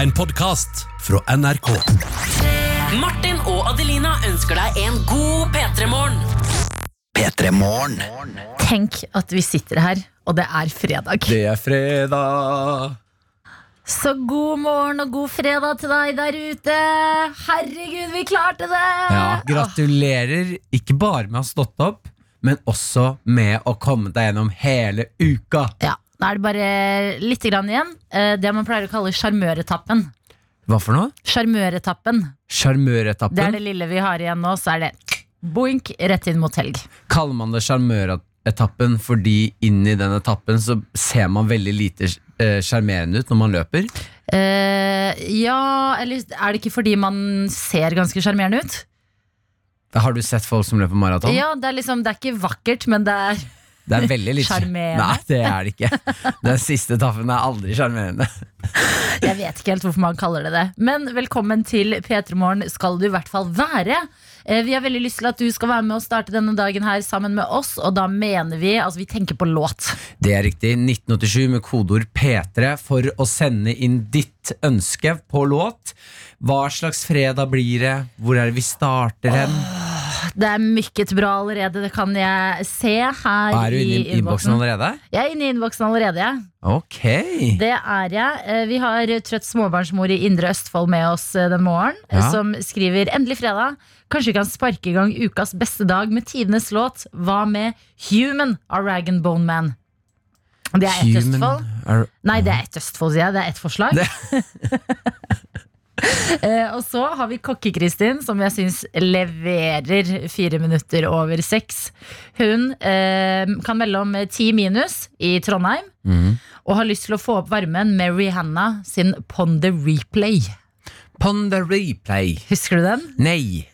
En podkast fra NRK. Martin og Adelina ønsker deg en god P3-morgen. Tenk at vi sitter her, og det er fredag. Det er fredag. Så god morgen og god fredag til deg der ute! Herregud, vi klarte det! Ja, gratulerer ikke bare med å ha stått opp, men også med å komme deg gjennom hele uka. Ja, Da er det bare litt grann igjen. Eh, Det man pleier å kalle sjarmøretappen. Hva for noe? Sjarmøretappen. Det er Sjarmøretappen? det lille vi har igjen nå, så er det boink rett inn mot helg. Kaller man det sjarmøretappen fordi inni den etappen så ser man veldig lite eh, sjarmerende ut når man løper? Eh, ja, eller er det ikke fordi man ser ganske sjarmerende ut? Har du sett folk som løper maraton? Ja, det er liksom, det er ikke vakkert, men det er Det er veldig litt Sjarmerende. Nei, det er det ikke. Den siste etappen er aldri sjarmerende. Jeg vet ikke helt hvorfor man kaller det det. Men velkommen til P3 Morgen skal du i hvert fall være. Eh, Vi har veldig lyst til at du skal være med og starte denne dagen her sammen med oss, og da mener vi Altså, vi tenker på låt. Det er riktig. 1987 med kodeord P3 for å sende inn ditt ønske på låt. Hva slags fredag blir det? Hvor er det vi starter hen? Det er mykket bra allerede, det kan jeg se her er du inne i innboksen allerede? Jeg er inne i innboksen allerede, jeg. Ok. Det er jeg. Eh, Vi har trøtt småbarnsmor i Indre Østfold med oss eh, den morgen, eh, Ja. som skriver 'Endelig fredag'. Kanskje vi kan sparke i gang ukas beste dag med tidenes låt. Hva med 'Human' av Rag and Bone Man? Det er ett Human Østfold. er- Nei, det er ett Østfold, sier jeg. Det er ett forslag. Eh, og så har vi Kokke-Kristin, som jeg syns leverer fire minutter over seks. Hun eh, kan melde om ti minus i Trondheim og har lyst til å få opp varmen med Rihanna sin Pond the Replay. Pon the replay. Husker du den? Nei.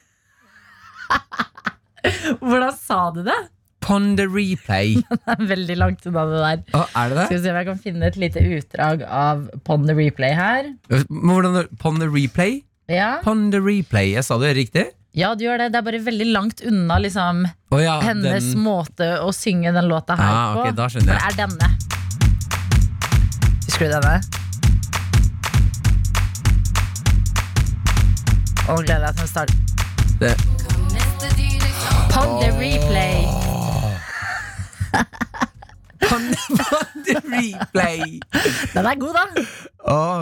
Hvordan sa du det? Pon the replay. Det er veldig langt unna det der. Å, er det det? Skal vi se om jeg kan finne et lite utdrag av Pond the Replay her. Men Hvordan, pon the replay? Ja. Pon the replay. Jeg sa det riktig? ja, du gjør det. Det er bare veldig langt unna liksom, Å ja, hennes den- måte å synge den låta her Ah, ok, på. da skjønner jeg. For det er denne. Husker du denne? Og gleder deg til å starte. det- Pond the Replay. Pon pon the replay. Den er god, da.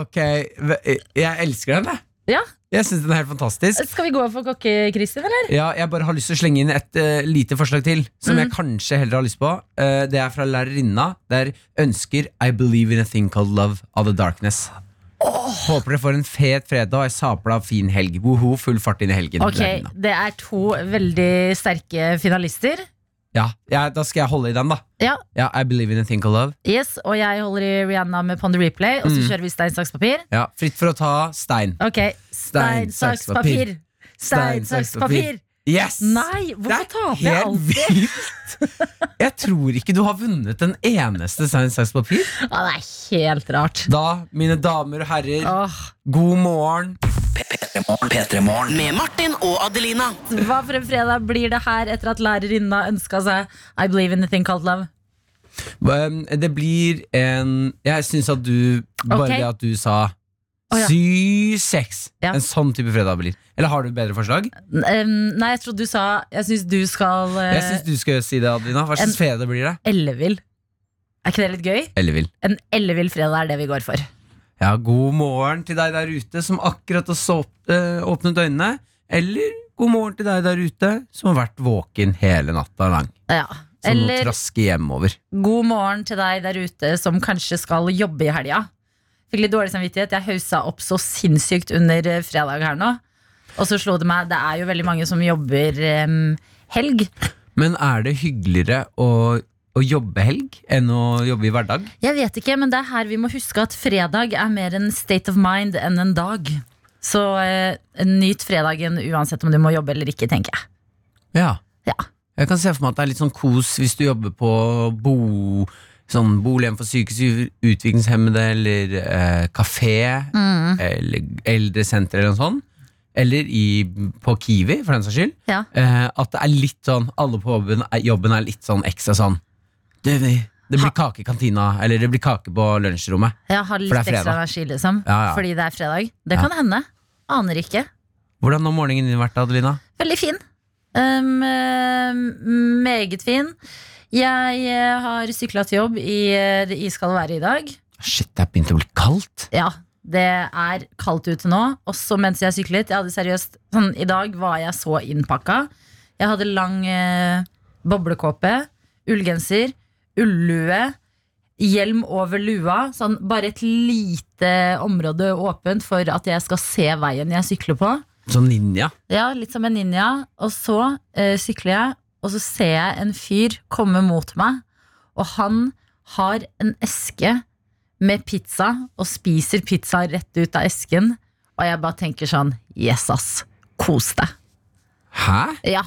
Ok. Jeg elsker den, jeg. Ja, Jeg syns den er helt fantastisk. Skal vi gå for kokke-Kristin, eller? Ja, jeg bare har lyst til å slenge inn et eh, lite forslag til, Mm. som jeg kanskje heller har lyst på. Eh, det er fra lærerinna. Det er 'Ønsker I Believe in a Thing Called Love of the Darkness'. Håper dere får en fet fredag og ei sabla fin helg. Woho, full fart inn i helgen. Ok, lærerinna. Det er to veldig sterke finalister. Ja, ja, Da skal jeg holde i den, da. Ja, Ja, I Believe in a Thing Called Love. yes, Og jeg holder i Rihanna med Pond the Replay, og så kjører vi stein, saks, papir. Ja, Fritt for å ta stein. Ok, Stein, saks, papir. Stein, saks, papir. Yes! Nei, Det hvorfor er taper jeg helt alltid? vilt! Jeg tror ikke du har vunnet en eneste stein, saks, papir. Ja, det er helt rart. Da, mine damer og herrer, Åh, god morgen. Med Martin og Adelina. hva for en fredag blir det her etter at lærerinna ønska seg I Believe in a Thing Called Love? Um, Det blir en Jeg syns at du Bare Ok. det at du sa Å, ja. Sy seks. Ja. En sånn type fredag blir. Eller har du et bedre forslag? N- em, nei, jeg trodde du sa Jeg syns du skal Jeg syns uh, du skal si det, Adelina. Hva slags fredag blir det? ellevill. Er ikke det litt gøy? Ellevill. En ellevill fredag er det vi går for. Ja, god morgen til deg der ute som akkurat har så, eh, åpnet øynene. Eller god morgen til deg der ute som har vært våken hele natta lang. Ja. Som må Eller traske hjemover. god morgen til deg der ute som kanskje skal jobbe i helga. Fikk litt dårlig samvittighet. Jeg haussa opp så sinnssykt under eh, fredag her nå. Og så slo det meg, det er jo veldig mange som jobber em, helg. Men er det hyggeligere å, å jobbe helg enn å jobbe i hverdag? Jeg vet ikke, men det er her vi må huske at fredag er mer en state of mind enn en dag. Så eh, nyt fredagen uansett om du må jobbe eller ikke, tenker jeg. Ja. Ja. Jeg kan se for meg at det er litt sånn kos hvis du jobber på bo, sånn bolighjem for psykisk utviklingshemmede, eller eh, kafé, Mm. eller eldresenter, eller noe sånt. Eller i, på Kiwi, for den saks skyld. Ja. Eh, at det er litt sånn, alle på jobben er, jobben er litt sånn ekstra sånn Du, vi Det blir kake i kantina, eller det blir kake på lunsjrommet. Jeg har litt det er fredag. ekstra energi, liksom. Ja, ja. Fordi det er fredag. Det kan hende. Aner ikke. Hvordan har morgenen din vært, Adelina? Veldig fin. Um, eh, meget fin. Jeg eh, har sykla til jobb i, eh, i Skal det være i dag. Shit, det er begynt å bli kaldt. Ja, det er kaldt ute nå. Også mens jeg syklet. Jeg hadde seriøst sånn, I dag var jeg så innpakka. Jeg hadde lang eh, boblekåpe, ullgenser, ullue, hjelm over lua. Sånn bare et lite område åpent for at jeg skal se veien jeg sykler på. Sånn ninja. Ja, litt som en ninja. Og så eh, sykler jeg, og så ser jeg en fyr komme mot meg. Og han har en eske med pizza, og spiser pizza rett ut av esken. Og jeg bare tenker sånn Yes, ass. Kos deg. Hæ? Ja.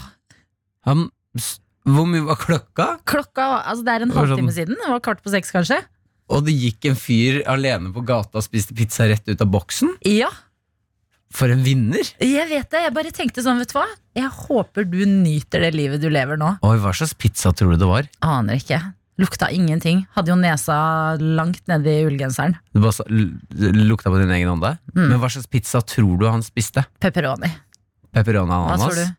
Han, s- hvor mye var klokka? Klokka var- Altså, det er en Det var halvtime sånn- siden. Det var kvart på seks, kanskje. Og det gikk en fyr alene på gata og spiste pizza rett ut av boksen? Ja. For en vinner! Jeg vet det. Jeg bare tenkte sånn, vet du hva. Jeg håper du nyter det livet du lever nå. Oi, hva slags pizza tror du det var? Aner ikke. Lukta ingenting. Hadde jo nesa langt nedi ullgenseren. Du bare sa- l- lukta på din egen hånd der? Mm. Men hva slags pizza tror du han spiste? Pepperoni. Pepperoni og Hva ananas? tror du?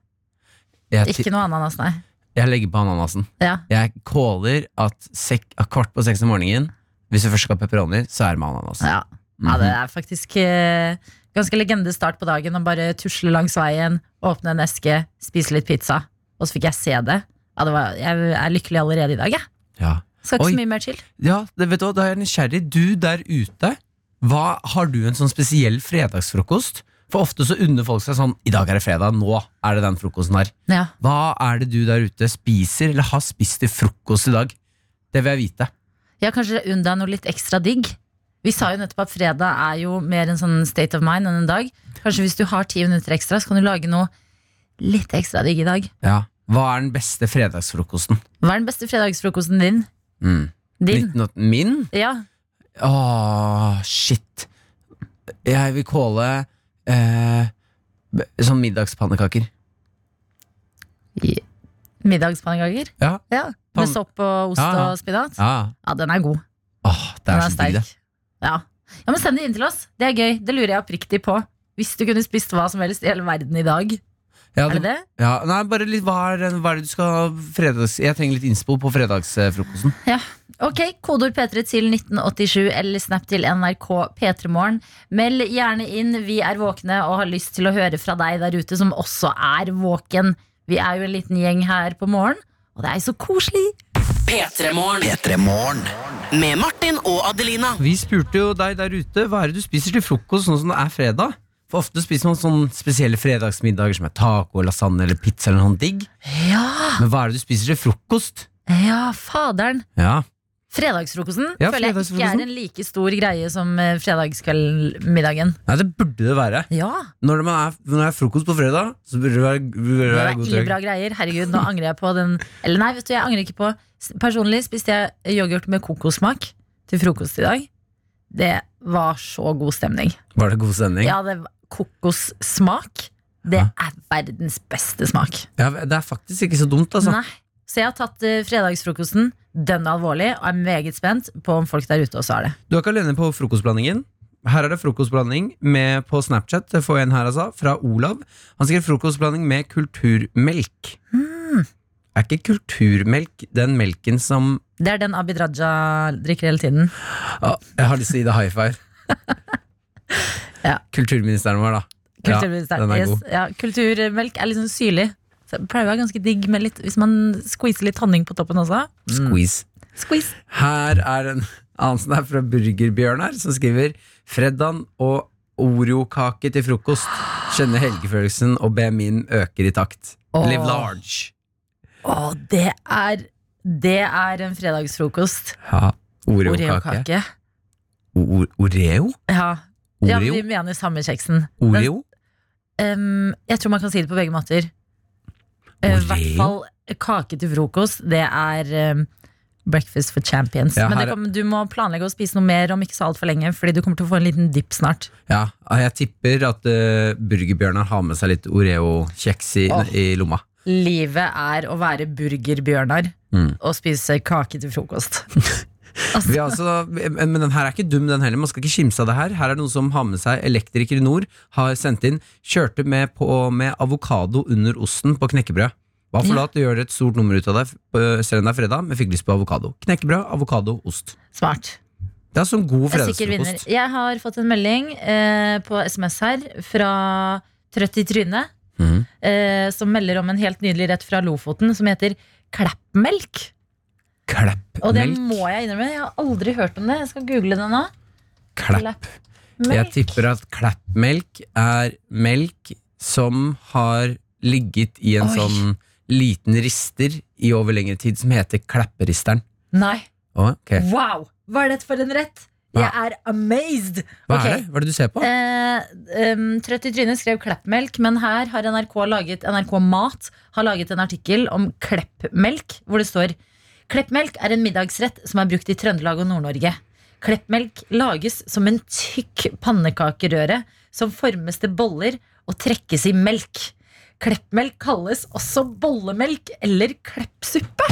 Jeg, ti- Ikke noe ananas, nei. jeg legger på ananasen. Ja. Jeg caller at sek, at kvart på seks om morgenen Hvis du først skal ha pepperoni, så er det med ananas. Mhm. Ja. ja, det er faktisk eh, ganske legendestart på dagen å bare tusle langs veien, åpne en eske, spise litt pizza. Og så fikk jeg se det. Ja, det var, jeg er lykkelig allerede i dag, jeg. Ja. Skal ikke Oi. så mye mer til. Ja, det vet du hva, da er jeg nysgjerrig. Du der ute, hva har du en sånn spesiell fredagsfrokost? For ofte så unner folk seg sånn I dag er det fredag, nå er det den frokosten her. Ja. Hva er det du der ute spiser, eller har spist til frokost i dag? Det vil jeg vite. Ja, kanskje unn deg noe litt ekstra digg. Vi sa jo nettopp at fredag er jo mer en sånn state of mind enn en dag. Kanskje hvis du har ti minutter ekstra, så kan du lage noe litt ekstra digg i dag. Ja. Hva er den beste fredagsfrokosten? Hva er den beste fredagsfrokosten din? Mm. Din? 19 min? Ja. Åh, shit. Jeg vil calle eh, b- sånn middagspannekaker. I- Middagspannekaker? Ja. Ja. Med Pann- sopp og ost Ja, ja. og spinat? ja. Ja, den er god. Åh, det Den er, er så digg, det. sterk. Ja. ja, men Send det inn til oss. Det er gøy. Det lurer jeg oppriktig på. Hvis du kunne spist hva som helst i hele verden i dag. Ja, Er det det? Ja, nei, bare litt, hva er, hva er det du skal ha fredags... Jeg trenger litt innspo på fredagsfrokosten. Ok, Kodeord P3 til 1987 eller Snap til NRK P3morgen. Meld gjerne inn. Vi er våkne og har lyst til å høre fra deg der ute som også er våken. Vi er jo en liten gjeng her på morgen, og det er jo så koselig. P3-morgen. Med Martin og Adelina. Vi spurte jo deg der ute, hva er det du spiser til frokost sånn som det er fredag? For ofte spiser man sånne spesielle fredagsmiddager som er taco, lasagne eller pizza eller noe digg. Ja, Men hva er det du spiser til frokost? ja, faderen. Ja, Fredagsfrokosten Ja, føler jeg ikke fredagsfrokosten. er en like stor greie som eh, fredagskveldmiddagen. nei, det burde det være. Ja, Når det er, når det er frokost på fredag, så burde det være, burde det det være var god ille trøkk. bra greier. Herregud, nå angrer jeg på den. Eller nei, vet du, jeg angrer ikke på S- Personlig spiste jeg yoghurt med kokosmak til frokost i dag. Det var så god stemning. Var det god stemning? Ja, det var kokossmak. Det Ja. er verdens beste smak. Ja, det er faktisk ikke så dumt, altså. Nei. Så jeg har tatt eh, fredagsfrokosten dønn alvorlig og er meget spent på om folk der ute også har det. Du er ikke alene på frokostblandingen. Her er det frokostblanding med på Snapchat. Det får jeg en her, altså. Fra Olav. Han skriver frokostblanding med kulturmelk. Hmm. Er ikke kulturmelk den melken som Det er den Abid Raja drikker hele tiden. Å, Jeg har lyst til å gi deg high five. Ja. Kulturministeren vår, da. Kulturministeren. Ja, den er yes. god. ja, kulturmelk er litt sånn syrlig. Så det pleier å være ganske digg med litt, hvis man squeezer litt honning på toppen også. Squeeze. Squeeze. Her er en annen som er fra Burgerbjørn her, som skriver Freddan og Oreo-kake til frokost. Kjenner helgefølelsen, og BMI-en øker i takt. Åh. Live large. Å, det er Det er en fredagsfrokost. Ja. Oreo-kake. Oreo-kake. O- o- Oreo? Ja. ja, Oreo? vi mener samme kjeksen. Oreo? Em, jeg tror man kan si det på begge måter. Eh, I Oreo? hvert fall kake til frokost. Det er em, breakfast for champions. Ja, Men her det er- kommer- du må planlegge å spise noe mer om ikke så altfor lenge, fordi du kommer til å få en liten dipp snart. Ja, ah, eh, jeg tipper at uh, burgerbjørnar har med seg litt Oreo-kjeks i, Åh. i lomma. Livet er å være burgerbjørnar Mm. og spise kake til frokost. Vi har altså, men den her er ikke dum, den heller. Man skal ikke kimse av det her. Her er det noen som har med seg elektriker i nord, har sendt inn Kjørte med, på, med avokado under osten på knekkebrød. Hva for Ja. da at du gjør et stort nummer ut av deg, øh, selv om det er fredag, men fikk lyst på avokado. Knekkebrød, avokado, ost. Smart. Det er sånn god Jeg er sikker vinner. fredagsfrokost. Jeg har fått en melding eh, på SMS her fra Trøtt i trynet, Mhm. eh, som melder om en helt nydelig rett fra Lofoten som heter klappmelk. Og det Klappmelk. må jeg innrømme, jeg har aldri hørt om det. Jeg skal google det nå. Klapp. Jeg tipper at klappmelk er melk som har ligget i en Oi. sånn liten rister i over lengre tid, som heter klapperisteren. Nei. Å, ok. Wow! Hva er dette for en rett? Hva? Jeg er amazed! Hva Ok. er det? Hva er det du ser på? Eh, em, Trøtt i trynet skrev kleppmelk, men her har NRK laget NRK Mat har laget en artikkel om kleppmelk, hvor det står Kleppmelk er en middagsrett som er brukt i Trøndelag og Nord-Norge. Kleppmelk lages som en tykk pannekakerøre som formes til boller og trekkes i melk. Kleppmelk kalles også bollemelk eller kleppsuppe.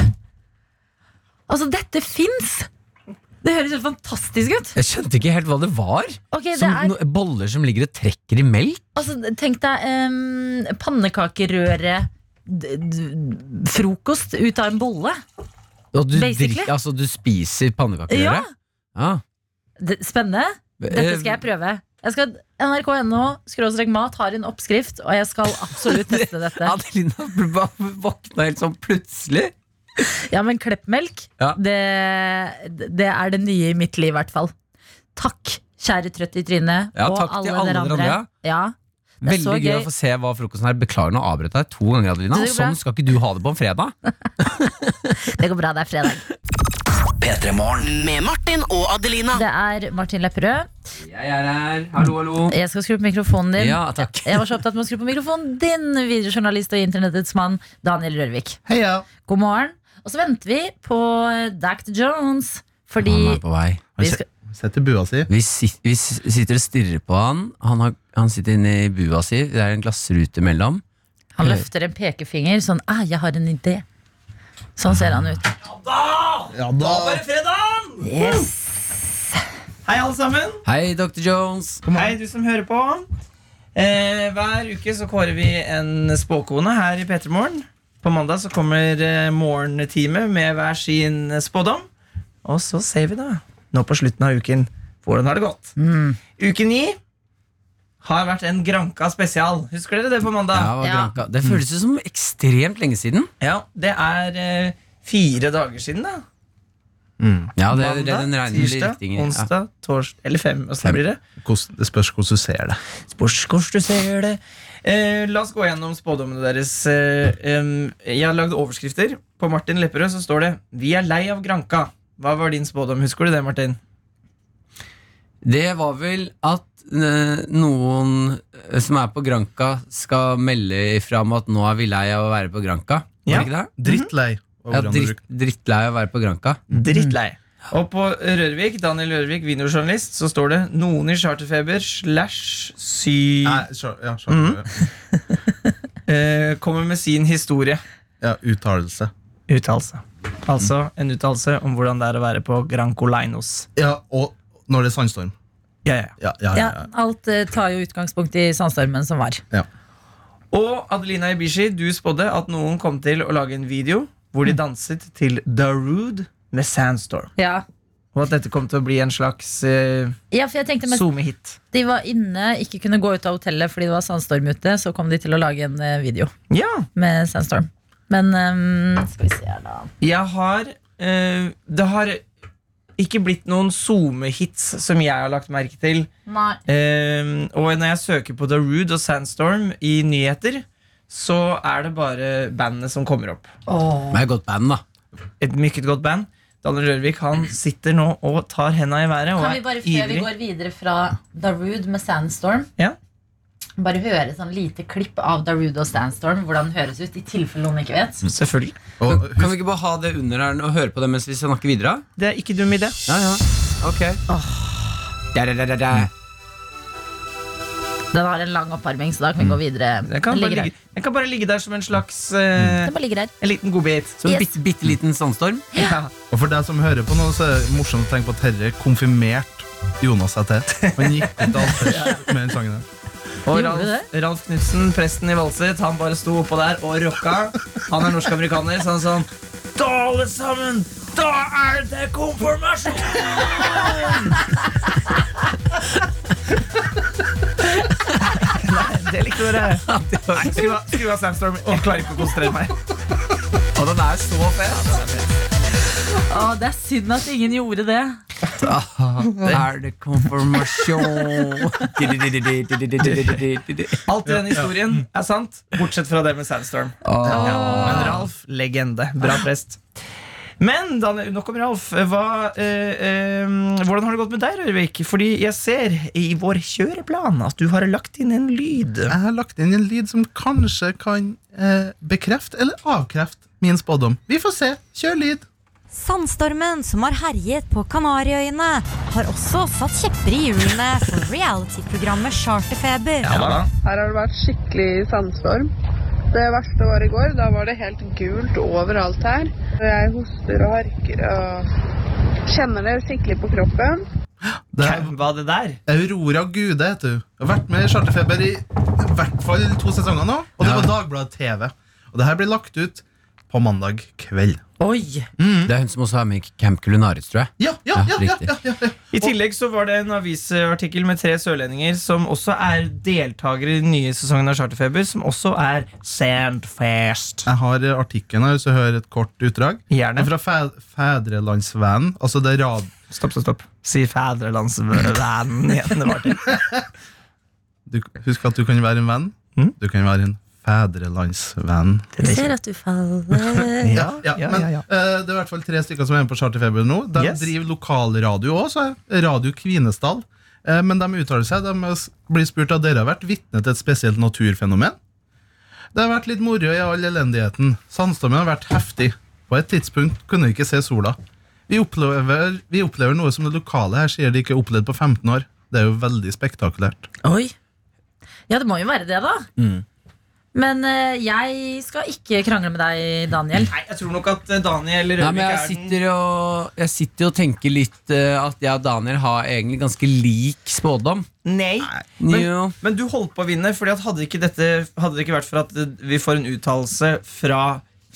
Altså, dette fins! Det høres jo fantastisk ut. Jeg skjønte ikke helt hva det var. Ok, det som, er- no, boller som ligger og trekker i melk? Altså, tenk deg um, pannekakerøre d- d- Frokost ut av en bolle. Og du, Basically. drikker, altså, du spiser pannekaker? Ja. eller? Ja. Eh, D- Spennende. Dette skal jeg prøve. Jeg skal, NRK.no skråstrek mat har en oppskrift, og jeg skal absolutt teste dette. Adelina ble bare våkna helt sånn plutselig. Ja, men kleppmelk, Ja. det, det er det nye i mitt liv, i hvert fall. Takk, kjære Trøtt i trynet, Ja, og takk til alle alle dere dere andre. andre. Ja. Det er Veldig så gøy. å gøy. få se hva frokosten er. Beklager nå å avbryte deg to ganger, Adelina. Det går bra. Sånn skal ikke du ha det på en fredag. Det går bra, det er fredag. Med Martin og Adelina. Det er Martin Lepperød. Jeg er her. Hallo, hallo. Jeg skal skru på mikrofonen din. Ja, takk. Jeg var så opptatt med å skru på mikrofonen din, videojournalist og internettets mann Daniel Rørvik. Heia. God morgen. Og så venter vi på eh, Dr. Jones, fordi Han er på vei. Har vi du sett- skal, Setter bua si. Vi, sit, vi s- sitter og stirrer på han. Han, har, han sitter inne i bua si. Det er en glassrute mellom. han løfter en pekefinger sånn ah, 'Jeg har en idé'. Sånn ser han ut. Ja da. Yes. Hei, alle sammen. Hei, Dr. Jones. Hei, du som hører på. Eh, hver uke så kårer vi en spåkone her i P3morgen. På mandag så kommer eh, morgentime med hver sin eh, spådom. Og så ser vi, da, nå på slutten av uken, hvordan har det gått. Mm. Uke ni har vært en Granka spesial. Husker dere det på mandag? Ja, hva Ja. Granka. Det føles jo som ekstremt lenge siden. Ja, det er eh, fire dager siden, da. Ja, det, det, den Mandag, regner i tirsdag, riktingen. Ja. onsdag, torsdag Eller fem. Og så Fem. blir det. Hvordan- Det spørs hvordan du ser det. Spørs hvordan du ser det. Eh, la oss gå gjennom spådommene deres. Eh, em, jeg har lagd overskrifter. På Martin Lepperød så står det 'Vi er lei av Granka'. Hva var din spådom? Husker du det, Martin? Det var vel at eh, noen eh, som er på Granka, skal melde ifra om at nå er vi lei av å være på Granka. Ja. Var det ikke det? Drittlei. av Ja, hvordan du dritt, drittlei av å være på Granka. Drittlei. Og på Rørvik, Daniel Rørvik, videojournalist, så står det 'Noen i charterfeber slash sy... Nei, så- ja, skjønner du. Eh, kommer med sin historie'. ja, uttalelse. Uttalelse. Altså en uttalelse om hvordan det er å være på Grancoleinos. Ja, og når det er sandstorm. Ja, ja. Ja, ja, ja. Ja, ja. alt eh, tar jo utgangspunkt i sandstormen som var. Og Adelina Ibishi, du spådde at noen kom til å lage en video hvor de Mm. danset til The Rude med Sandstorm. Ja. Og at dette kom til å bli en slags uh, ja, for jeg tenkte mens SoMe-hit. de var inne, ikke kunne gå ut av hotellet fordi det var sandstorm ute, så kom de til å lage en eh, video Ja, med sandstorm. Men ehm, skal vi se her, da. jeg har eh, Det har ikke blitt noen SoMe-hits som jeg har lagt merke til. Nei. Eh, og når jeg søker på The Rude og Sandstorm i nyheter, så er det bare bandene som kommer opp. Men det er et godt band, da. Et mykket godt band. Daniel Rørvik han sitter nå og tar henda i været og Kan vi bare, før er vi ivrig. går videre fra Darude med Sandstorm Ja. Bare høre sånn lite klipp av Darude og Sandstorm Hvordan den høres ut, i tilfelle noen ikke vet Selvfølgelig. Og Kan vi ikke bare ha det under her og høre på det mens vi snakker videre? da? Det er ikke dum idé. Mm. Ja, ja. Ok. Da, da, da, da, da. Den har en lang oppvarming, så da kan vi gå videre. Den Mm. kan, bare ligger ligge, her. den kan bare ligge der som en slags eh, Den bare ligger her. En liten godbit. Som en Yes. Sånn bitte, bitte liten sandstorm. Ja. Og for deg som hører på nå, så er det morsomt å tenke på at herre konfirmerte Jonas seg til. Han gikk ut til alters med den sangen. der. Og Gjorde Ralf, Ralf Knutsen, presten i Valset, han bare sto oppå der og rocka. Han er norsk-amerikaner, så han sånn Da, alle sammen! Da er det konfirmasjon! Nei, det likte dere. Nei, Skru av- skru av Sandstorm. Jeg klarer ikke å konsentrere meg. Og den er så fet! Å, det er synd at ingen gjorde det. Er det konfirmasjon? Alt i denne historien er sant, bortsett fra det med Sandstorm. Men Ralf, legende. Bra prest. Men Daniel, nok om Ralf. Hva, eh, eh, hvordan har det gått med deg, Rørvik? Fordi jeg ser i vår kjøreplan at du har lagt inn en lyd. Jeg har lagt inn en lyd som kanskje kan eh, bekrefte eller avkrefte min spådom. Vi får se. Kjør lyd. Sandstormen som har herjet på Kanariøyene, har også satt kjepper i hjulene for reality-programmet Charterfeber. Her har det vært skikkelig sandstorm. Det verste var i går. Da var det helt gult overalt her. Jeg hoster og harker og kjenner det skikkelig på kroppen. Det Hvem var det der? Aurora Gude heter hun. Har vært med i Charterfeber i i hvert fall to sesonger nå. Og det var Dagbladet TV. Og det her blir lagt ut på mandag kveld. Oi! Det er hun som også er med i Camp Culinaris, tror jeg. Ja, ja, ja, Ja, ja, riktig. ja, ja, ja. I tillegg så var det en avisartikkel med tre sørlendinger som også er deltakere i den nye sesongen av Charterfeber, som også er Sandfest. Jeg har eh, artikkelen her, hvis du hører et kort utdrag. Den Gjerne. er fra fe Fædrelandsvennen. Altså det er rad... Stopp, stopp, stopp. Si fædrelandsvennen igjen. Det var det. Du, husk at du kan være en venn. Mm. Du kan være en fædrelandsvenn. Ser at du faller Ja, ja, ja, men ja, ja. eh, Det er i hvert fall tre stykker som er med på Charterfeber nå. De Yes. driver lokalradio òg, Radio Kvinesdal. Eh, men de uttaler seg. De s- blir spurt om dere har vært vitne til et spesielt naturfenomen. Det har vært litt moro i all elendigheten. Sandstormen har vært heftig. På et tidspunkt kunne vi ikke se sola. Vi opplever, vi opplever noe som det lokale her sier de ikke har opplevd på 15 år. Det er jo veldig spektakulært. Oi. Ja, det må jo være det, da. Mm. Men eh, jeg skal ikke krangle med deg, Daniel. Nei, jeg tror nok at eh, Daniel Nei, men Rørvik jeg er den sitter, og, jeg sitter og tenker litt eh, at jeg og Daniel har egentlig ganske lik spådom. Nei. Jo. Men du holdt på å vinne, Fordi at hadde, ikke dette, hadde det ikke vært for at eh, vi får en uttalelse fra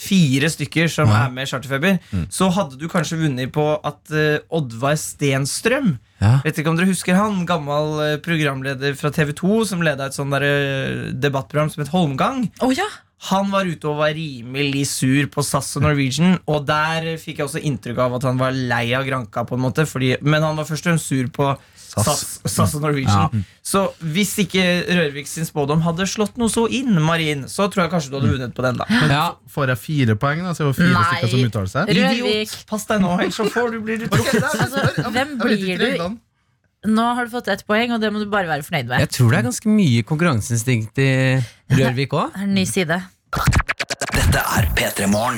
fire stykker som Ja. er med i Charterfeber, Mm. så hadde du kanskje vunnet på at eh, Oddvar Stenstrøm Ja. Vet ikke om dere husker han, gammel eh, programleder fra TV2 som leda et sånn der, eh, debattprogram som het Holmgang. Å ja. Han var ute og var rimelig sur på SAS og Norwegian, og der fikk jeg også inntrykk av at han var lei av Granka, på en måte, fordi, men han var først og fremst sur på SAS, SAS, og Norwegian. Så hvis ikke Rørvik sin spådom hadde slått noe så inn, Marin, så tror jeg kanskje du hadde vunnet på den, da. Ja. Får jeg fire poeng, da? Så jeg får fire Nei. stykker som uttaler seg? Rørvik, Pass deg nå, ellers så får du bli Altså, hvem blir du? nå har du fått ett poeng, og det må du bare være fornøyd med. Jeg tror det er ganske mye konkurranseinstinkt i Rørvik òg. Her er en ny side.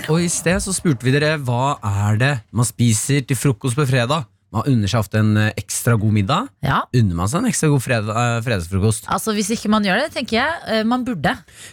Og i sted så spurte vi dere hva er det man spiser til frokost på fredag. Man unner seg ofte en eh, ekstra god middag. Ja. Unner man seg en ekstra god fredag, eh, fredagsfrokost. Altså, Hvis ikke man gjør det, tenker jeg eh, man burde.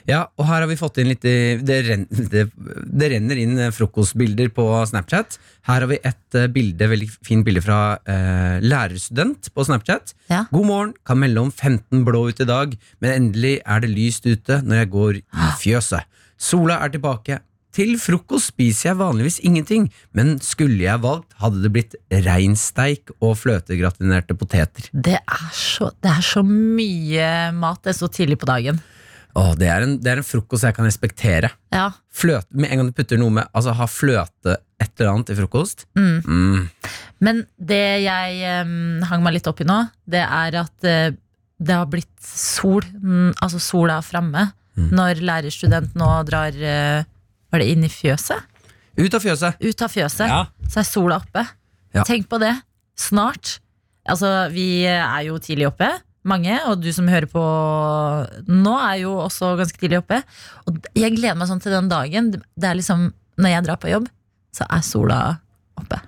Ja, og her har vi fått inn litt eh, Det, ren, det, det renner inn eh, frokostbilder på Snapchat. Her har vi et eh, bilde, veldig fint bilde fra eh, lærerstudent på Snapchat. Ja. God morgen, kan melde om 15 blå ut i dag, men endelig er det lyst ute når jeg går i fjøset. Sola er tilbake. Til frokost spiser jeg vanligvis ingenting, men skulle jeg valgt, hadde det blitt reinsteik og fløtegratinerte poteter. Det er så, det er så mye mat det er så tidlig på dagen. Åh, det er en, det er en frokost jeg kan respektere. Ja, fløte, med en gang du putter noe med Altså ha fløte et eller annet til frokost mm. mm. Men det jeg eh, hang meg litt opp i nå, det er at eh, det har blitt sol. Mm, altså sola er framme. Mm. Når lærerstudent nå drar eh, Var det inn i fjøset? Ut av fjøset Ut av fjøset, ja. så er sola oppe. Ja. Tenk på det. Snart. Altså, vi er jo tidlig oppe, mange, og du som hører på nå, er jo også ganske tidlig oppe. Og jeg gleder meg sånn til den dagen. Det er liksom når jeg drar på jobb, så er sola oppe.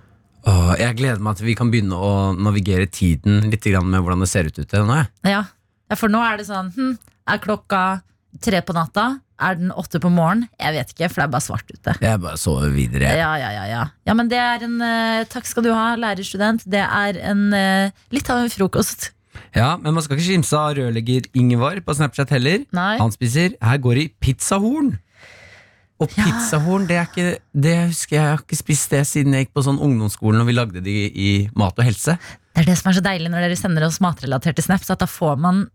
Åh, Jeg gleder meg til vi kan begynne å navigere tiden Litt grann med hvordan det ser ut ute nå jeg. Ja. Ja, for nå er det sånn hm, Er klokka tre på natta? Er den åtte på morgenen? Jeg vet ikke, for det er bare svart ute. Jeg bare sover videre. Ja, ja, ja, ja. ja men det er en eh, Takk skal du ha, lærerstudent. Det er en eh, litt av en frokost. Ja, Men man skal ikke kimse av rørlegger Ingvar på Snapchat heller. Nei. Han spiser Her går det i pizzahorn. Og Ja. pizzahorn, det er ikke Det husker jeg, jeg har ikke spist det siden jeg gikk på sånn ungdomsskolen og vi lagde det i Mat og helse. Det er det som er så deilig når dere sender oss matrelaterte snaps, at da får man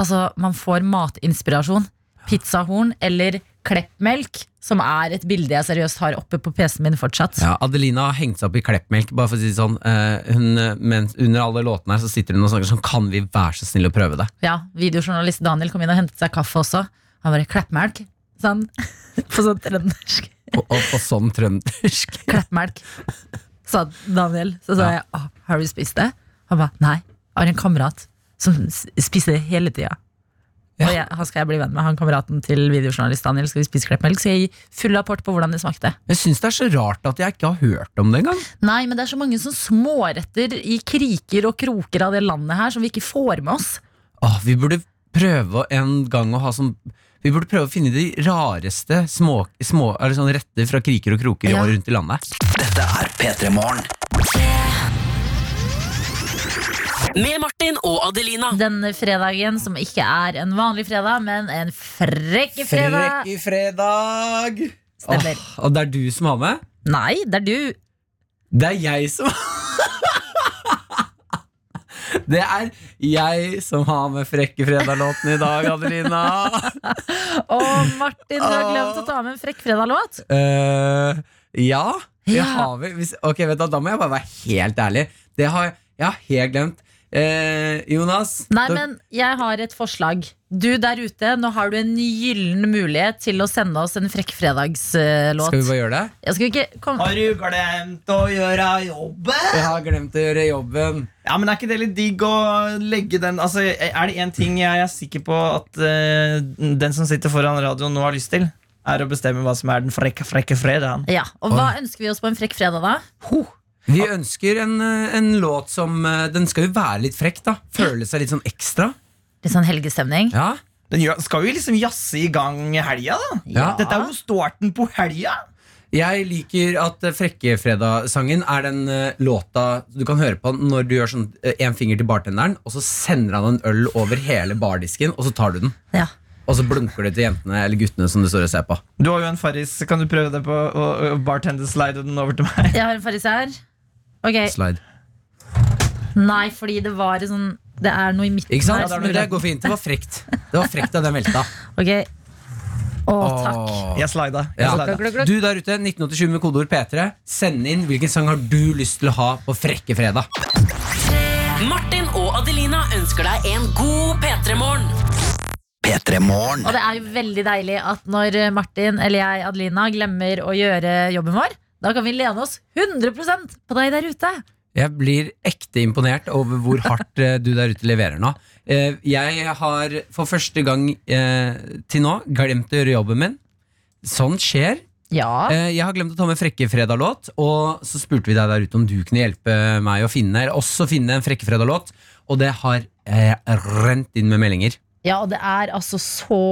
Altså, man får matinspirasjon. Pizzahorn eller kleppmelk, som er et bilde jeg seriøst har oppe på PC-en min fortsatt. Ja, Adelina har hengt seg opp i kleppmelk. Bare for å si det sånn eh, hun, eh, mens, Under alle låtene her så sitter hun og snakker sånn Kan vi være så snill å prøve det? ja, videojournalist Daniel kom inn og hentet seg kaffe også. Han bare 'kleppmelk', sa han. På sånn trøndersk. Og, og på sånn trøndersk. 'Kleppmelk', sa Daniel. Så sa Ja. jeg «Å, 'har du spist det?' Han ba 'nei, jeg har en kamerat som s- spiser det hele tida'. Og jeg, han skal jeg bli venn med, han kameraten til videojournalist Daniel. Skal vi spise kleppmelk? Så jeg gir full rapport på hvordan det smakte. Jeg syns det er så rart at jeg ikke har hørt om det engang. Nei, men det er så mange sånne småretter i kriker og kroker av det landet her som vi ikke får med oss. Åh, vi burde prøve en gang å ha sånn Vi burde prøve å finne de rareste små, små, eller sånn retter fra kriker og kroker i Ja. år rundt i landet. Med Martin og Adelina. Denne fredagen som ikke er en vanlig fredag, men en frekke fredag. Frekke fredag! Stemmer. Åh, og det er du som har med? Nei, det er du. Det er jeg som Det er jeg som har med Frekke fredag-låten i dag, Adelina. Og Martin, du har glemt å ta med en Frekk fredag-låt. Eh, ja, det Ja. har vi. Hvis, ok, vet du, hva, Da må jeg bare være helt ærlig. Det har jeg, jeg har helt glemt. Eh, Jonas, Nei, da- men jeg har et forslag. Du der ute, nå har du en gyllen mulighet til å sende oss en Frekk skal vi fredags-låt. bare gjøre det? Jeg skal ikke komme Har du glemt å gjøre jobben? Jeg har glemt å gjøre jobben. Ja, men Er ikke det litt digg å legge den Altså, Er det én ting jeg er sikker på at eh, den som sitter foran radioen nå har lyst til, er å bestemme hva som er den frekke, frekke fredagen? ja, Og hva ønsker vi oss på en Frekk fredag, da? Vi ønsker en, eh, en låt som eh, Den skal jo være litt frekk, da. Føle seg litt sånn ekstra. Litt sånn helgestemning. Ja, Den gjør- skal jo liksom jazze i gang helga, da. Ja. Dette er jo starten på helga. Jeg liker at eh, Frekkefredag-sangen er den eh, låta du kan høre på når du gjør sånn eh, en finger til bartenderen, og så sender han en øl over hele bardisken, og så tar du den. Ja. Og så blunker du til jentene eller guttene som du står og ser på. Du har jo en farris. Kan du prøve det på å å bartender-slide den over til meg? Jeg har en fariser. Ok, Slide. Nei, fordi det var en sånn Det er noe i midten Ikke sant? her. Men det går fint. Det var frekt. Det var frekt av den velta. Ok. Å, takk. Åh. Jeg slida. Jeg Ja. slida. Du der ute, 1987 med kodeord P3. Send inn hvilken sang har du lyst til å ha på Frekkefredag. Martin og Adelina ønsker deg en god P3-morgen. Og det er jo veldig deilig at når Martin eller jeg, Adelina, glemmer å gjøre jobben vår, da kan vi lene oss 100 på deg der ute. Jeg blir ekte imponert over hvor hardt eh, du der ute leverer nå. Eh, Jeg har for første gang eh, til nå glemt å gjøre jobben min. Sånt skjer. Ja. Eh, Jeg har glemt å ta med Frekkefredag-låt, og så spurte vi deg der ute om du kunne hjelpe meg å finne, eller også finne en Frekkefredag-låt, og det har eh, rent inn med meldinger. ja, og det er altså så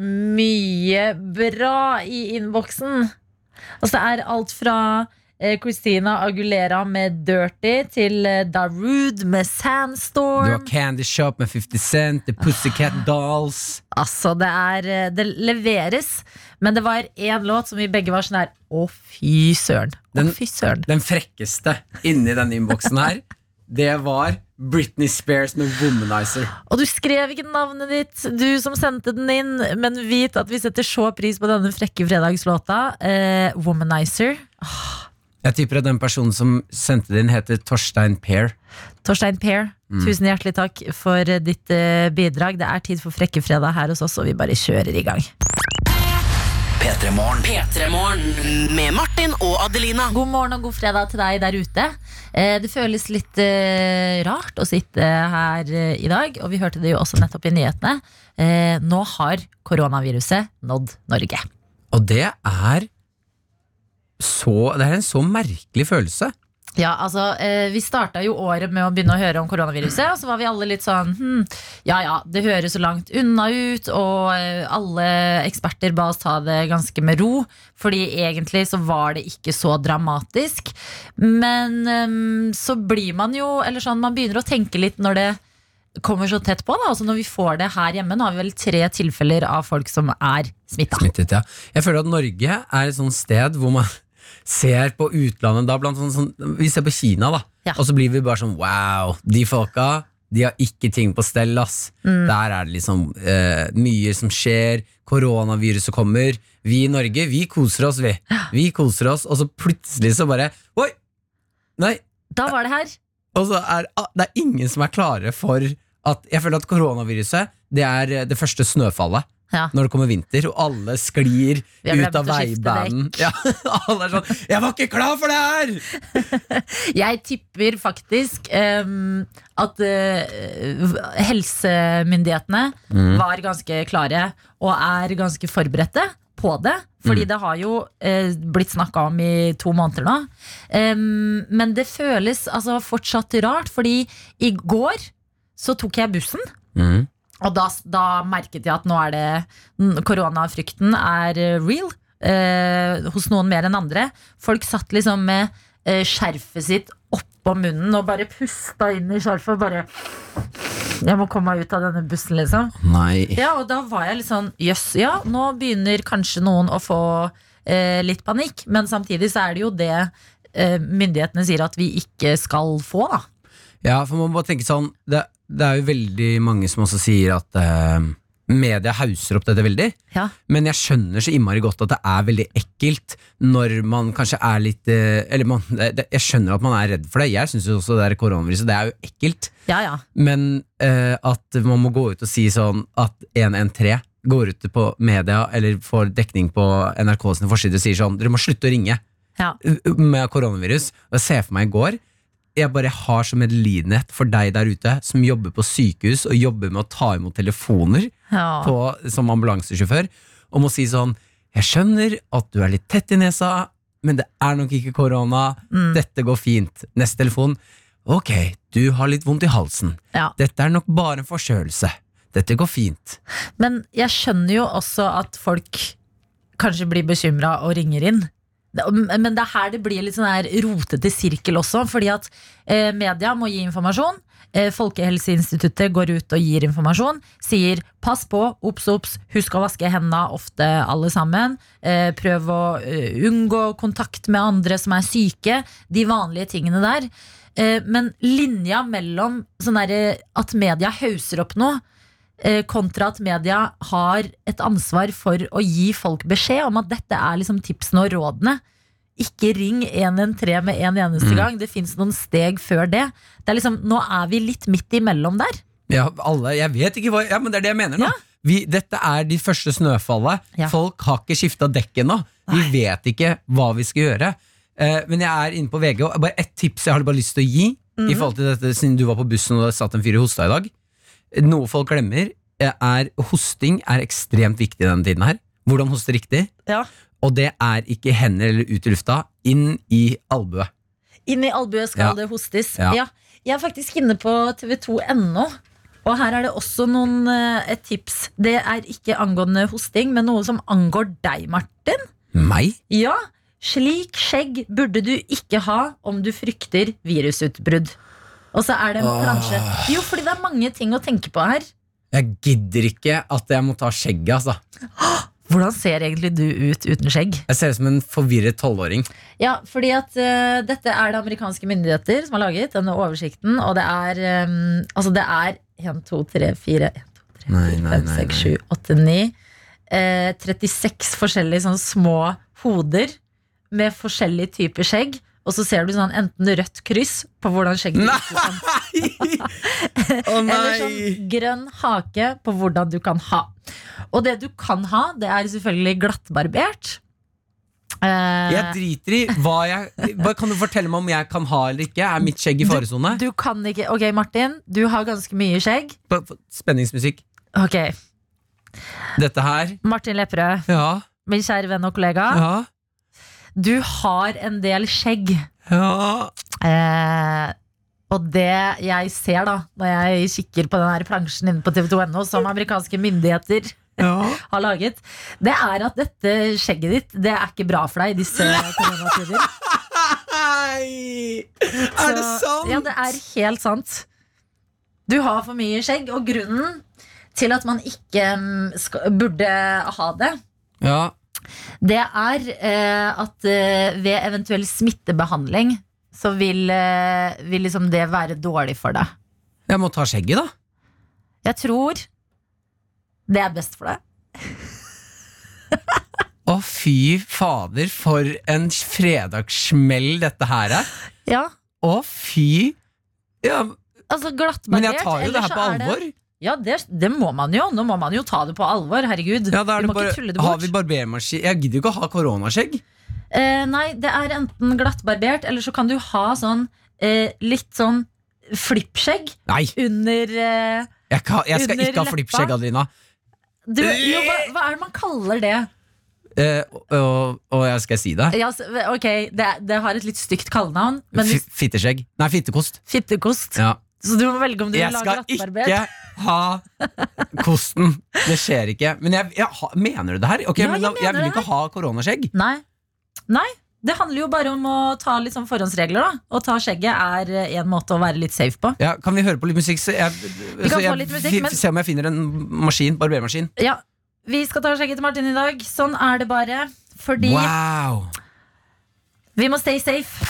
mye bra i innboksen. Altså, det er alt fra eh, Christina Agulera med 'Dirty' til eh, Darude med Du 'Sandstorm'. har Candy Shop med 50 Cent, The Pussycat Dolls. Altså, det er Det leveres. Men det var én låt som vi begge var sånn her Å, fy søren. Å, Den- fy søren. Den frekkeste inni denne innboksen her, det var Britney Spears med Womanizer. Og du skrev ikke navnet ditt, du som sendte den inn, men vit at vi setter så pris på denne frekke fredagslåta. Eh, Womanizer. Jeg tipper at den personen som sendte det inn, heter Torstein Per. Torstein Per, tusen hjertelig takk for eh, ditt eh, bidrag. Det er tid for frekke fredag her hos oss, og vi bare kjører i gang. P3-morgen med Martin og Adelina. God morgen og god fredag til deg der ute. Eh, Det føles litt eh, rart å sitte her eh, i dag, og vi hørte det jo også nettopp i nyhetene. Eh, Nå har koronaviruset nådd Norge. Og det er så Det er en så merkelig følelse. Ja, altså, eh, Vi starta jo året med å begynne å høre om koronaviruset. Og så var vi alle litt sånn hm, Ja ja, det høres så langt unna ut. Og eh, alle eksperter ba oss ta det ganske med ro. Fordi egentlig så var det ikke så dramatisk. Men eh, så blir man jo Eller sånn, man begynner å tenke litt når det kommer så tett på. da Altså Når vi får det her hjemme, nå har vi vel tre tilfeller av folk som er smitta. smittet, ja. Jeg føler at Norge er et sånt sted hvor man ser på utlandet da, blant sånn, sånn, Vi ser på Kina, da, Ja. og så blir vi bare sånn wow, de folka de har ikke ting på stell, ass. Der er det liksom eh, mye som skjer, koronaviruset kommer. Vi i Norge, vi koser oss, vi. Vi koser oss, og så plutselig så bare Oi! Nei, Da var det her. og så er ah, det er ingen som er klare for at Jeg føler at koronaviruset Det er eh, det første snøfallet. Ja. Når det kommer vinter, og alle sklir Vi har glemt ut av å skifte veibanen. Ja, alle er sånn 'Jeg var ikke klar for det her!' Jeg tipper faktisk em, at eh, v- helsemyndighetene var ganske klare og er ganske forberedte på det. Fordi det har jo eh, blitt snakka om i to måneder nå. Em, men det føles altså fortsatt rart, fordi i går så tok jeg bussen. Mm, Og da, da merket jeg at nå er det n- Koronafrykten er eh, real eh, Hos noen mer enn andre Folk satt liksom med eh, skjerfet sitt oppå munnen Og bare pusta inn i skjerfet og bare Jeg må komme meg ut av denne bussen liksom Nei. ja, og da var jeg litt sånn Jøss, ja, nå begynner kanskje noen å få eh, litt panikk. Men samtidig så er det jo det eh, myndighetene sier at vi ikke skal få, da. Ja, for man må bare tenke sånn Det, det er jo veldig mange som også sier at eh, media hauser opp dette veldig. Ja. Men jeg skjønner så innmari godt at det er veldig ekkelt når man kanskje er litt eh, Eller man, det, det- jeg skjønner at man er redd for det. Jeg syns jo også det der koronaviruset, det er jo ekkelt. Ja, ja. Men eh, at man må gå ut og si sånn at 113 går ut på media eller får dekning på NRK sine forsider og sier sånn Dere må slutte å ringe Ja. u- med koronavirus. Og jeg ser for meg i går jeg bare har så medlidenhet for deg der ute som jobber på sykehus og jobber med å ta imot telefoner Ja. på, som ambulansesjåfør, om å si sånn Jeg skjønner at du er litt tett i nesa, men det er nok ikke korona. Dette går fint. Neste telefon. Ok, du har litt vondt i halsen. Ja. Dette er nok bare en forkjølelse. Dette går fint. Men jeg skjønner jo også at folk kanskje blir bekymra og ringer inn. Det- Men det er her det blir litt sånn her rotete sirkel også, fordi at eh, media må gi informasjon. Eh, Folkehelseinstituttet går ut og gir informasjon. Sier pass på, obs, obs, husk å vaske hendene ofte, alle sammen. Eh, prøv å eh, unngå kontakt med andre som er syke. De vanlige tingene der. Eh, men linja mellom sånn derre at media hauser opp noe, eh, kontra at media har et ansvar for å gi folk beskjed om at dette er liksom tipsene og rådene. Ikke ring 113 med en eneste gang. Det fins noen steg før det. det er liksom, nå er vi litt midt imellom der. Ja, alle, jeg vet ikke hva Ja, men det er det jeg mener nå. Vi, dette er de første snøfallet. Ja. Folk har ikke skifta dekket nå. Vi vet ikke hva vi skal gjøre. Eh, men jeg er inne på VG, og bare ett tips jeg har bare lyst til å gi. I forhold til dette, Siden du var på bussen og det satt en fyr i hosta i dag. Noe folk glemmer, eh, er hosting er ekstremt viktig denne tiden her. Hvordan hoste riktig. Ja. Og det er ikke hender eller ut i lufta. Inn i albuet. Inn i albuet skal Ja. det hostes. Ja. Ja. Jeg er faktisk inne på tv2.no. Og her er det også noen, eh, et tips. Det er ikke angående hosting, men noe som angår deg, Martin. Meg? Ja, slik skjegg burde du ikke ha om du frykter virusutbrudd. Og så er det en Ah. plansje. Jo, fordi det er mange ting å tenke på her. Jeg gidder ikke at jeg må ta skjegget, altså. Hvordan ser egentlig du ut uten skjegg? Jeg ser ut som en forvirret tolvåring. Ja, fordi at eh, dette er det amerikanske myndigheter som har laget denne oversikten, og det er eh, Altså, det er 1, 2, 3, 4 1, 2, 3, 4, Nei, nei, 5, nei, 6, 7, 8, 9 eh, 36 forskjellige sånne små hoder med forskjellig type skjegg. Og så ser du sånn enten rødt kryss på hvordan skjegget Nei! virker sånn, Å eller sånn grønn hake på hvordan du kan ha. Og det du kan ha, det er selvfølgelig glattbarbert. Eh, Jeg driter i hva jeg hva Kan du fortelle meg om jeg kan ha eller ikke? Er mitt skjegg i faresone? Du kan ikke Ok, Martin, du har ganske mye skjegg. På- på- Spenningsmusikk. Ok, Dette her. Martin Lepperød, Ja. min kjære venn og kollega. ja. Du har en del skjegg. Ja. Eh, og det jeg ser da når jeg kikker på den her plansjen inne på tv2.no, som amerikanske myndigheter har laget, det er at dette skjegget ditt Det er ikke bra for deg i disse koronatider. Hei! Så- Ja, det er helt sant. Du har for mye skjegg, og grunnen til at man ikke mm, skal, burde ha det, Ja. det er eh, at eh, ved eventuell smittebehandling så vil, eh, vil liksom det være dårlig for deg. Jeg må ta skjegget, da. Jeg tror det er best for deg. Å, fy fader, for en fredagssmell dette her er. Ja, Å, fy ja, altså glattbarbert. Men jeg tar jo det ellers her på så er det- alvor. Ja, det, det må man jo. Nå må man jo ta det på alvor. Herregud. Ja, da er du det må bare, ikke tulle det Har bort. vi barbermaskin? Jeg gidder jo ikke å ha koronaskjegg. Eh, nei, det er enten glattbarbert, eller så kan du ha sånn eh, litt sånn flippskjegg Nei, under eh, jeg, kan, jeg skal Under ikke ha leppa? flippskjegg, Adelina. du, jo, hva, hva er det man kaller det? Eh, og, og, og jeg skal si det. Ja, så- ok, det, det har et litt stygt kallenavn, men Fi- hvis Fitteskjegg. Nei, fittekost. Fittekost. Ja. Så du må velge om du Jeg vil ha skal glattbarbert. ikke ha kosten. Det skjer ikke. Men jeg, jeg, ha- mener du det her? Ok, Ja, men jeg da, jeg mener vil jo det ikke ha koronaskjegg. Nei. Nei. Det handler jo bare om å ta litt sånn forhåndsregler. da Å ta skjegget er eh, en måte å være litt safe på. Ja, kan vi høre på litt musikk? Så jeg, kan så få jeg litt musikk, fi- men- Se om jeg finner en maskin, barbermaskin. Ja, Vi skal ta skjegget til Martin i dag. Sånn er det bare. Fordi Wow! vi må stay safe.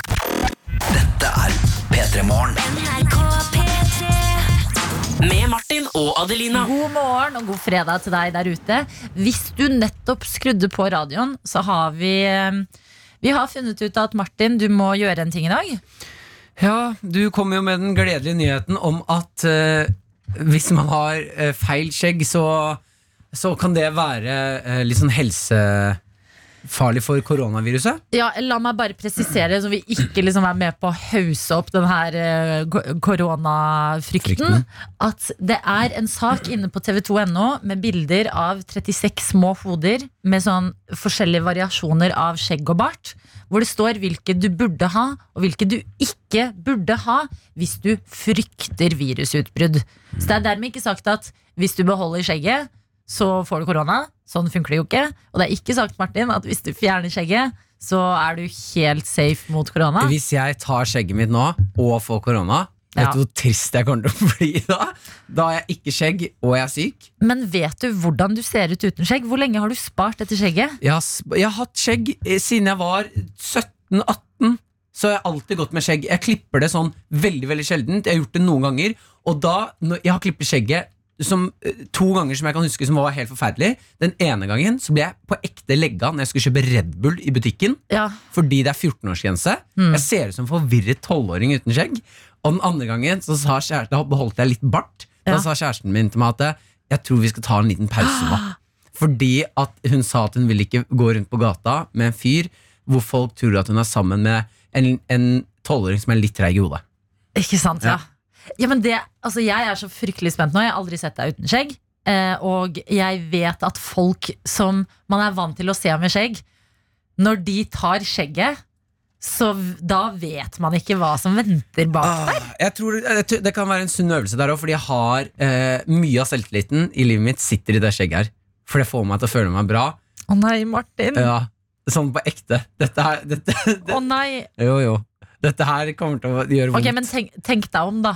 Med Martin og Adelina. God morgen og god fredag til deg der ute. Hvis du nettopp skrudde på radioen, så har vi eh, Vi har funnet ut at Martin, du må gjøre en ting i dag. Ja, du kom jo med den gledelige nyheten om at eh, hvis man har eh, feil skjegg, så, så kan det være eh, litt sånn helsefarlig for koronaviruset. Ja, La meg bare presisere, så vi ikke liksom er med på å hause opp den her eh, ko- koronafrykten. Frykten. At det er en sak inne på tv2.no med bilder av 36 små hoder med sånn forskjellige variasjoner av skjegg og bart. Hvor det står hvilke du burde ha, og hvilke du ikke burde ha hvis du frykter virusutbrudd. Så det er dermed ikke sagt at hvis du beholder skjegget, så får du korona. Sånn funker det jo ikke. Og det er ikke sagt, Martin, at hvis du fjerner skjegget, så er du helt safe mot korona. Hvis jeg tar skjegget mitt nå og får korona, Ja. vet du hvor trist jeg kommer til å bli da? Da har jeg ikke skjegg, og jeg er syk. Men vet du hvordan du ser ut uten skjegg? Hvor lenge har du spart dette skjegget? Jeg har, sp- jeg har hatt skjegg eh, siden jeg var 17-18. Så har jeg alltid gått med skjegg. Jeg klipper det sånn veldig veldig sjeldent. Jeg har gjort det noen ganger. Og da, når jeg har klippet skjegget som, eh, to ganger som jeg kan huske som var helt forferdelig. Den ene gangen så ble jeg på ekte legga når jeg skulle kjøpe Red Bull i butikken. Ja, Fordi det er 14-årsgrense. Jeg ser ut som en forvirret 12-åring uten skjegg. Og den andre gangen så sa kjæresten, da beholdt jeg litt bart. Da Ja. sa kjæresten min til meg at eh, jeg tror vi skal ta en liten pause nå. Fordi at hun sa at hun ville ikke gå rundt på gata med en fyr hvor folk tror at hun er sammen med en- en tolvåring som er litt treig i hodet. Ikke sant, ja. ja men det, altså, jeg er så fryktelig spent nå. Jeg har aldri sett deg uten skjegg. Eh, og jeg vet at folk som man er vant til å se med skjegg, når de tar skjegget, så v- da vet man ikke hva som venter bak. Ah, Jeg tror det, jeg tror det kan være en sunn øvelse der òg, fordi jeg har eh, mye av selvtilliten i livet mitt sitter i det skjegget her. For det får meg til å føle meg bra. Å nei, Martin. Å Ja, sånn på ekte. Dette er, dette, det, nei. Jo, jo. Dette her kommer til å gjøre Ok, vondt. men tenk, tenk deg om, da.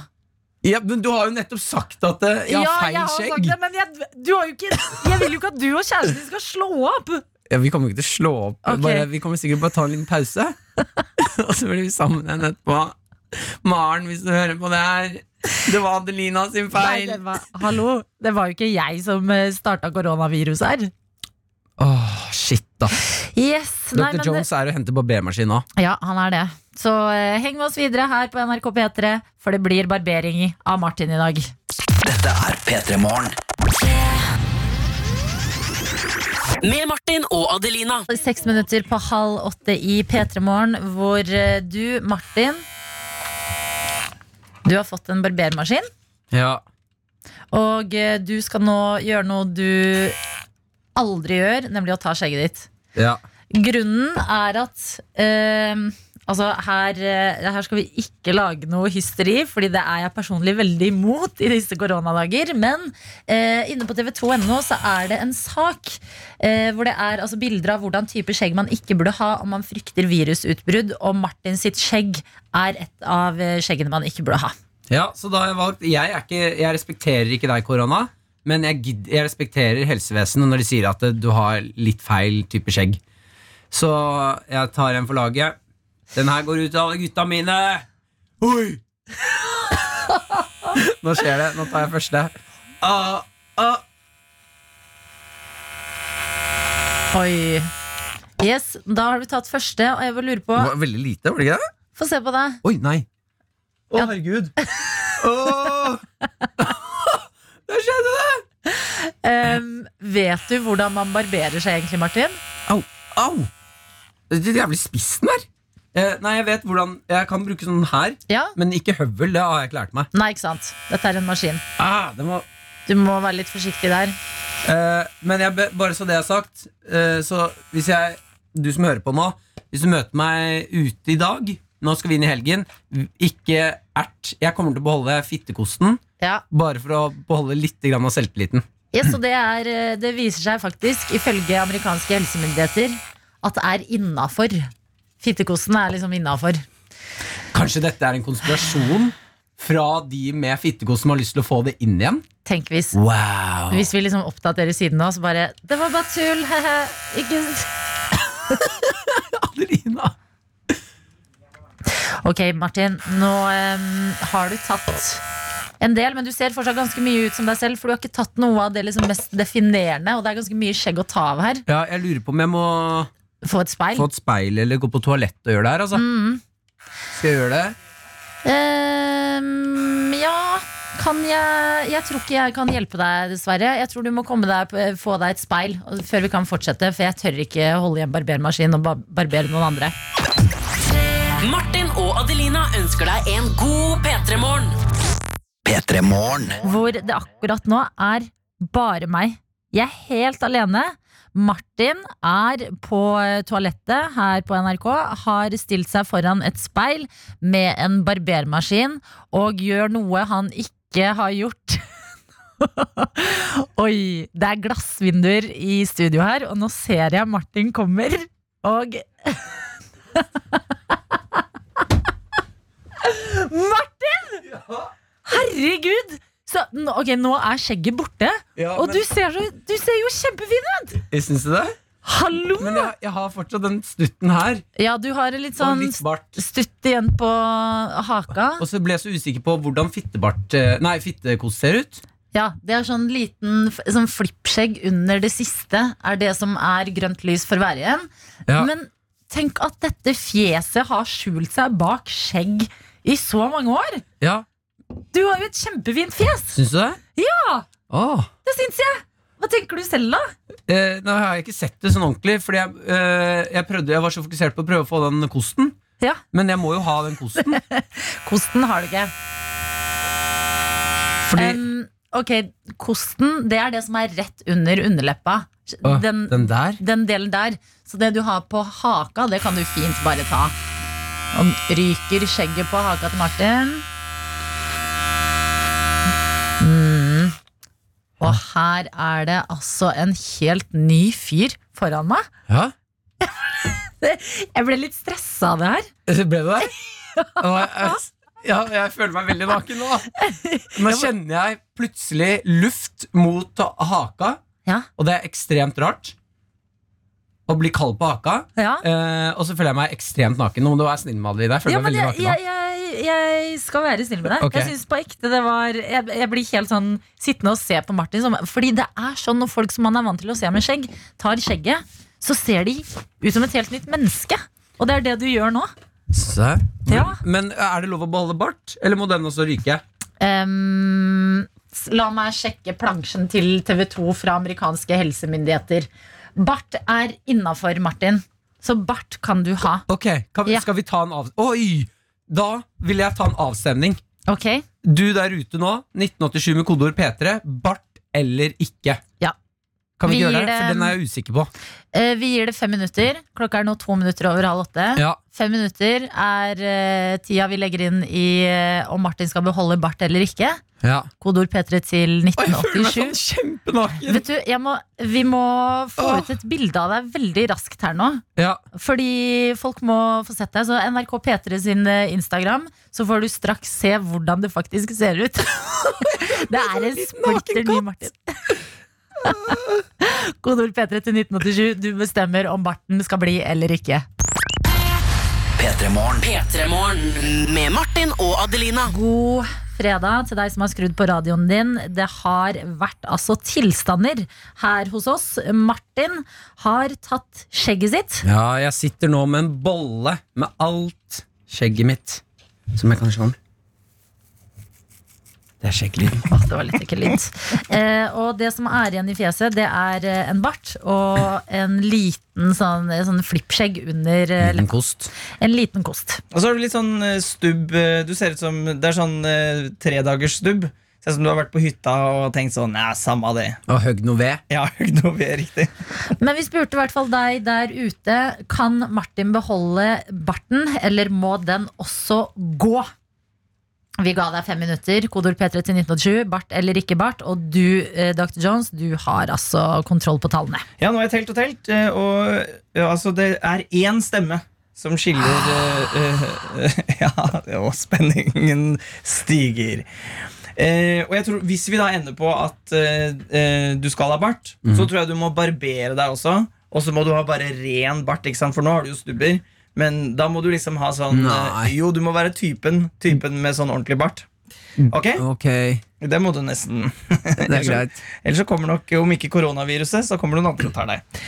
ja, men du har jo nettopp sagt at eh, jeg har feil skjegg. det, men jeg, du har jo ikke, jeg vil jo ikke at du og kjæresten din skal slå opp. Ja, vi kommer jo ikke til å slå opp. Ok. Bare, vi kommer sikkert bare ta en liten pause. Og så blir vi sammen igjen etterpå. Maren, hvis du hører på det her. Det var Adelina sin Nei, feil. det var, hallo, det var jo ikke jeg som starta koronaviruset her. Åh, shit, da. Yes, Dr. nei, men, eh, Jones er og henter barbermaskin nå. Ja, han er det. Så eh, heng med oss videre her på NRK P3, for det blir barbering i- av Martin i dag. Med Martin og Adelina. Seks minutter på halv åtte i P3 Morgen, hvor eh, du, Martin Du har fått en barbermaskin, Ja. og eh, du skal nå gjøre noe du aldri gjør, nemlig å ta skjegget ditt. ja. Grunnen er at eh, altså her, eh, her skal vi ikke lage noe hysteri, Fordi det er jeg personlig veldig imot i disse koronadager. Men eh, inne på tv2.no så er det en sak eh, hvor det er altså, bilder av hvordan type skjegg man ikke burde ha om man frykter virusutbrudd, og Martin sitt skjegg er et av eh, skjeggene man ikke burde ha. Ja, så da har jeg valgt Jeg, er ikke, jeg respekterer ikke deg, korona, men jeg, gidd- jeg respekterer helsevesenet når de sier at eh, du har litt feil type skjegg. Så jeg tar en for laget. Den her går ut til alle gutta mine! Oi! Nå skjer det. Nå tar jeg første. Ah, ah. Oi. Yes, Da har du tatt første, og jeg vil lure på Det var veldig lite, var det ikke det? Få se på deg. Oi, nei. Å, herregud. Åh! Der skjedde det! Em, Ehm, vet du hvordan man barberer seg egentlig, Martin? Au, au! Det er jævlig spissen her. Eh, nei, jeg vet hvordan Jeg kan bruke sånn her, Ja? men ikke høvel. Det har jeg ikke lært meg. Nei, ikke sant. Dette er en maskin. Ah, det må... Du må være litt forsiktig der. Eh, men jeg, be- bare så det er sagt, eh, så hvis jeg Du som hører på nå, hvis du møter meg ute i dag Nå skal vi inn i helgen. Ikke ert. Jeg kommer til å beholde fittekosten. Ja. Bare for å beholde litt grann av selvtilliten. Yes, og det, er, eh, det viser seg faktisk, ifølge amerikanske helsemyndigheter, at det er innafor. Fittekosten er liksom innafor. Kanskje dette er en konspirasjon fra de med fittekost som har lyst til å få det inn igjen? Tenk hvis. Wow Hvis vi liksom oppdaterer siden nå, så bare Det var bare tull! He-he. Ikke Adelina! Ok, Martin, nå em, har du tatt en del, men du ser fortsatt ganske mye ut som deg selv, for du har ikke tatt noe av det liksom mest definerende, og det er ganske mye skjegg å ta av her. Ja, jeg lurer på om jeg må Få et speil. få et speil eller gå på toalett og gjøre det her, altså. Mm. Skal jeg gjøre det? Ehm, ja kan jeg, jeg tror ikke jeg kan hjelpe deg, dessverre. Jeg tror du må komme deg, få deg et speil og- før vi kan fortsette. For jeg tør ikke holde i en barbermaskin og ba barbere noen andre. Martin og Adelina ønsker deg en god P3-morgen. Hvor det akkurat nå er bare meg. Jeg er helt alene. Martin er på eh, toalettet her på NRK, har stilt seg foran et speil med en barbermaskin og gjør noe han ikke har gjort. Oi, det er glassvinduer i studio her, og nå ser jeg Martin kommer. Og Martin! Herregud! Så, nå- ok, nå er skjegget borte, Ja, og du ser, så, du ser jo kjempefin ut! Syns du det? Hallo! Men jeg, jeg har fortsatt den stutten her. Ja, du har en litt Og sånn litt bart. stutt igjen på haka. Og så ble jeg så usikker på hvordan fittebart eh, Nei, fittekost ser ut. Ja, Det er sånn liten f- sånn flippskjegg under det siste, er det som er grønt lys for hver igjen. Ja. Men tenk at dette fjeset har skjult seg bak skjegg i så mange år! Ja, Du har jo et kjempefint fjes! Syns du det? Ja! Åh. Det syns jeg! Hva tenker du selv, da? Eh, nå har jeg ikke sett det sånn ordentlig, Fordi jeg, eh, jeg, prøvde, jeg var så fokusert på å prøve å få den kosten. Ja, Men jeg må jo ha den kosten. Kosten har du ikke. Fordi Em, ok, kosten, det er det som er rett under underleppa. Åh, Den, Ah, den der? den delen der. Så det du har på haka, det kan du fint bare ta. Og ryker skjegget på haka til Martin. Mm. Og her er det altså en helt ny fyr foran meg. Ja, Jeg ble litt stressa av det her. Ble det det? Og jeg, ja, jeg føler meg veldig naken nå. Nå kjenner jeg plutselig luft mot ha- haka, Ja, og det er ekstremt rart. Å bli kald på haka. ja. Eh, og så føler jeg meg ekstremt naken. Nå må du være snill med Adelina. Jeg føler ja meg men veldig jeg, naken nå. jeg, jeg, jeg skal være snill med deg. Ok. Jeg synes på ekte det var jeg, jeg blir helt sånn sittende og se på Martin. Som, fordi det er sånn når folk som man er vant til å se med skjegg, tar skjegget, så ser de ut som et helt nytt menneske. Og det er det du gjør nå. Så. Ja. Men eh, er det lov å beholde bart, eller må den også ryke? Ehm, s- la meg sjekke plansjen til TV 2 fra amerikanske helsemyndigheter. Bart er innafor, Martin. Så bart kan du ha. Ok, kan, vi- Ja. Skal vi ta en av... Oi! Da vil jeg ta en avstemning. Ok? Du der ute nå, 1987 med kodeord P3, bart eller ikke. Ja. Kan vi, Vi ikke gir gjøre det? For det- den er jeg usikker på. Eh, vi gir det fem minutter. Klokka er nå to minutter over halv åtte. Ja. Fem minutter er eh, tida vi legger inn i eh, om Martin skal beholde bart eller ikke. Ja. Kodeord P3 til sånn 1987. kjempenaken! Vet du, jeg må, Vi må få ut et bilde av deg veldig raskt her nå. ja. Fordi folk må få sett deg. Så NRK P3 sin eh, Instagram, så får du straks se hvordan det faktisk ser ut. det er sånn en splitter ny Martin. Kodeord P3 til 1987. Du bestemmer om barten skal bli eller ikke. P3-morgen med Martin og Adelina. God fredag til deg som har skrudd på radioen din. Det har vært altså tilstander her hos oss. Martin har tatt skjegget sitt. ja, jeg sitter nå med en bolle med alt skjegget mitt. Som jeg kan se om. Det er skjegglyden. Åh, det var litt ekkel lyd. Eh, og det som er igjen i fjeset, det er eh, en bart og en liten sånn, sånn flippskjegg under eh, Liten leppa. kost. En liten kost. Og så har du litt sånn eh, stubb eh, Du ser ut som Det er sånn eh, tredagers stubb. Ser ut som du har vært på hytta og tenkt sånn Nei, samme av det. Og høgg noe ved. Jeg har ikke noe mer riktig. Men vi spurte i hvert fall deg der ute. Kan Martin beholde barten, eller må den også gå? Vi ga deg fem minutter. Kodord P3 til 1987. Bart eller ikke bart. Og du, eh, Dr. Jones, du har altså kontroll på tallene. Ja, nå har jeg telt og telt, eh, og ja, altså, det er én stemme som skiller eh, eh, eh, Ja, og spenningen stiger. Eh, og jeg tror, Hvis vi da ender på at eh, eh, du skal ha bart, så tror jeg du må barbere deg også. Og så må du ha bare ren bart, ikke sant? for nå har du jo stubber. Men da må du liksom ha sånn eh, Nei. Jo, du må være typen, typen med sånn ordentlig bart. Ok? Ok, det Det må du nesten. Mm. er greit. Ellers så kommer nok, om ikke koronaviruset, så kommer noen andre og tar deg.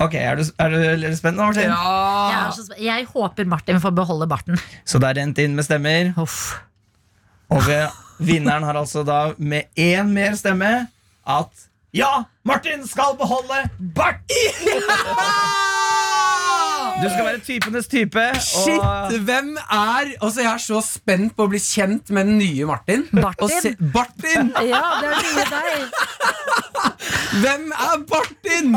Ok, Er du, er du, er du spent nå, Martin? Jeg, er så sp- jeg håper Martin får beholde barten. Så det er rent inn med stemmer. Uff. Og vi- vinneren har altså da med én mer stemme at ja, Martin skal beholde bart! Du skal være typenes type. Og Shit, hvem er Altså, jeg er så spent på å bli kjent med den nye Martin. Bartin. Og se- Bartin! Ja, det er mye deg. Hvem er Bartin?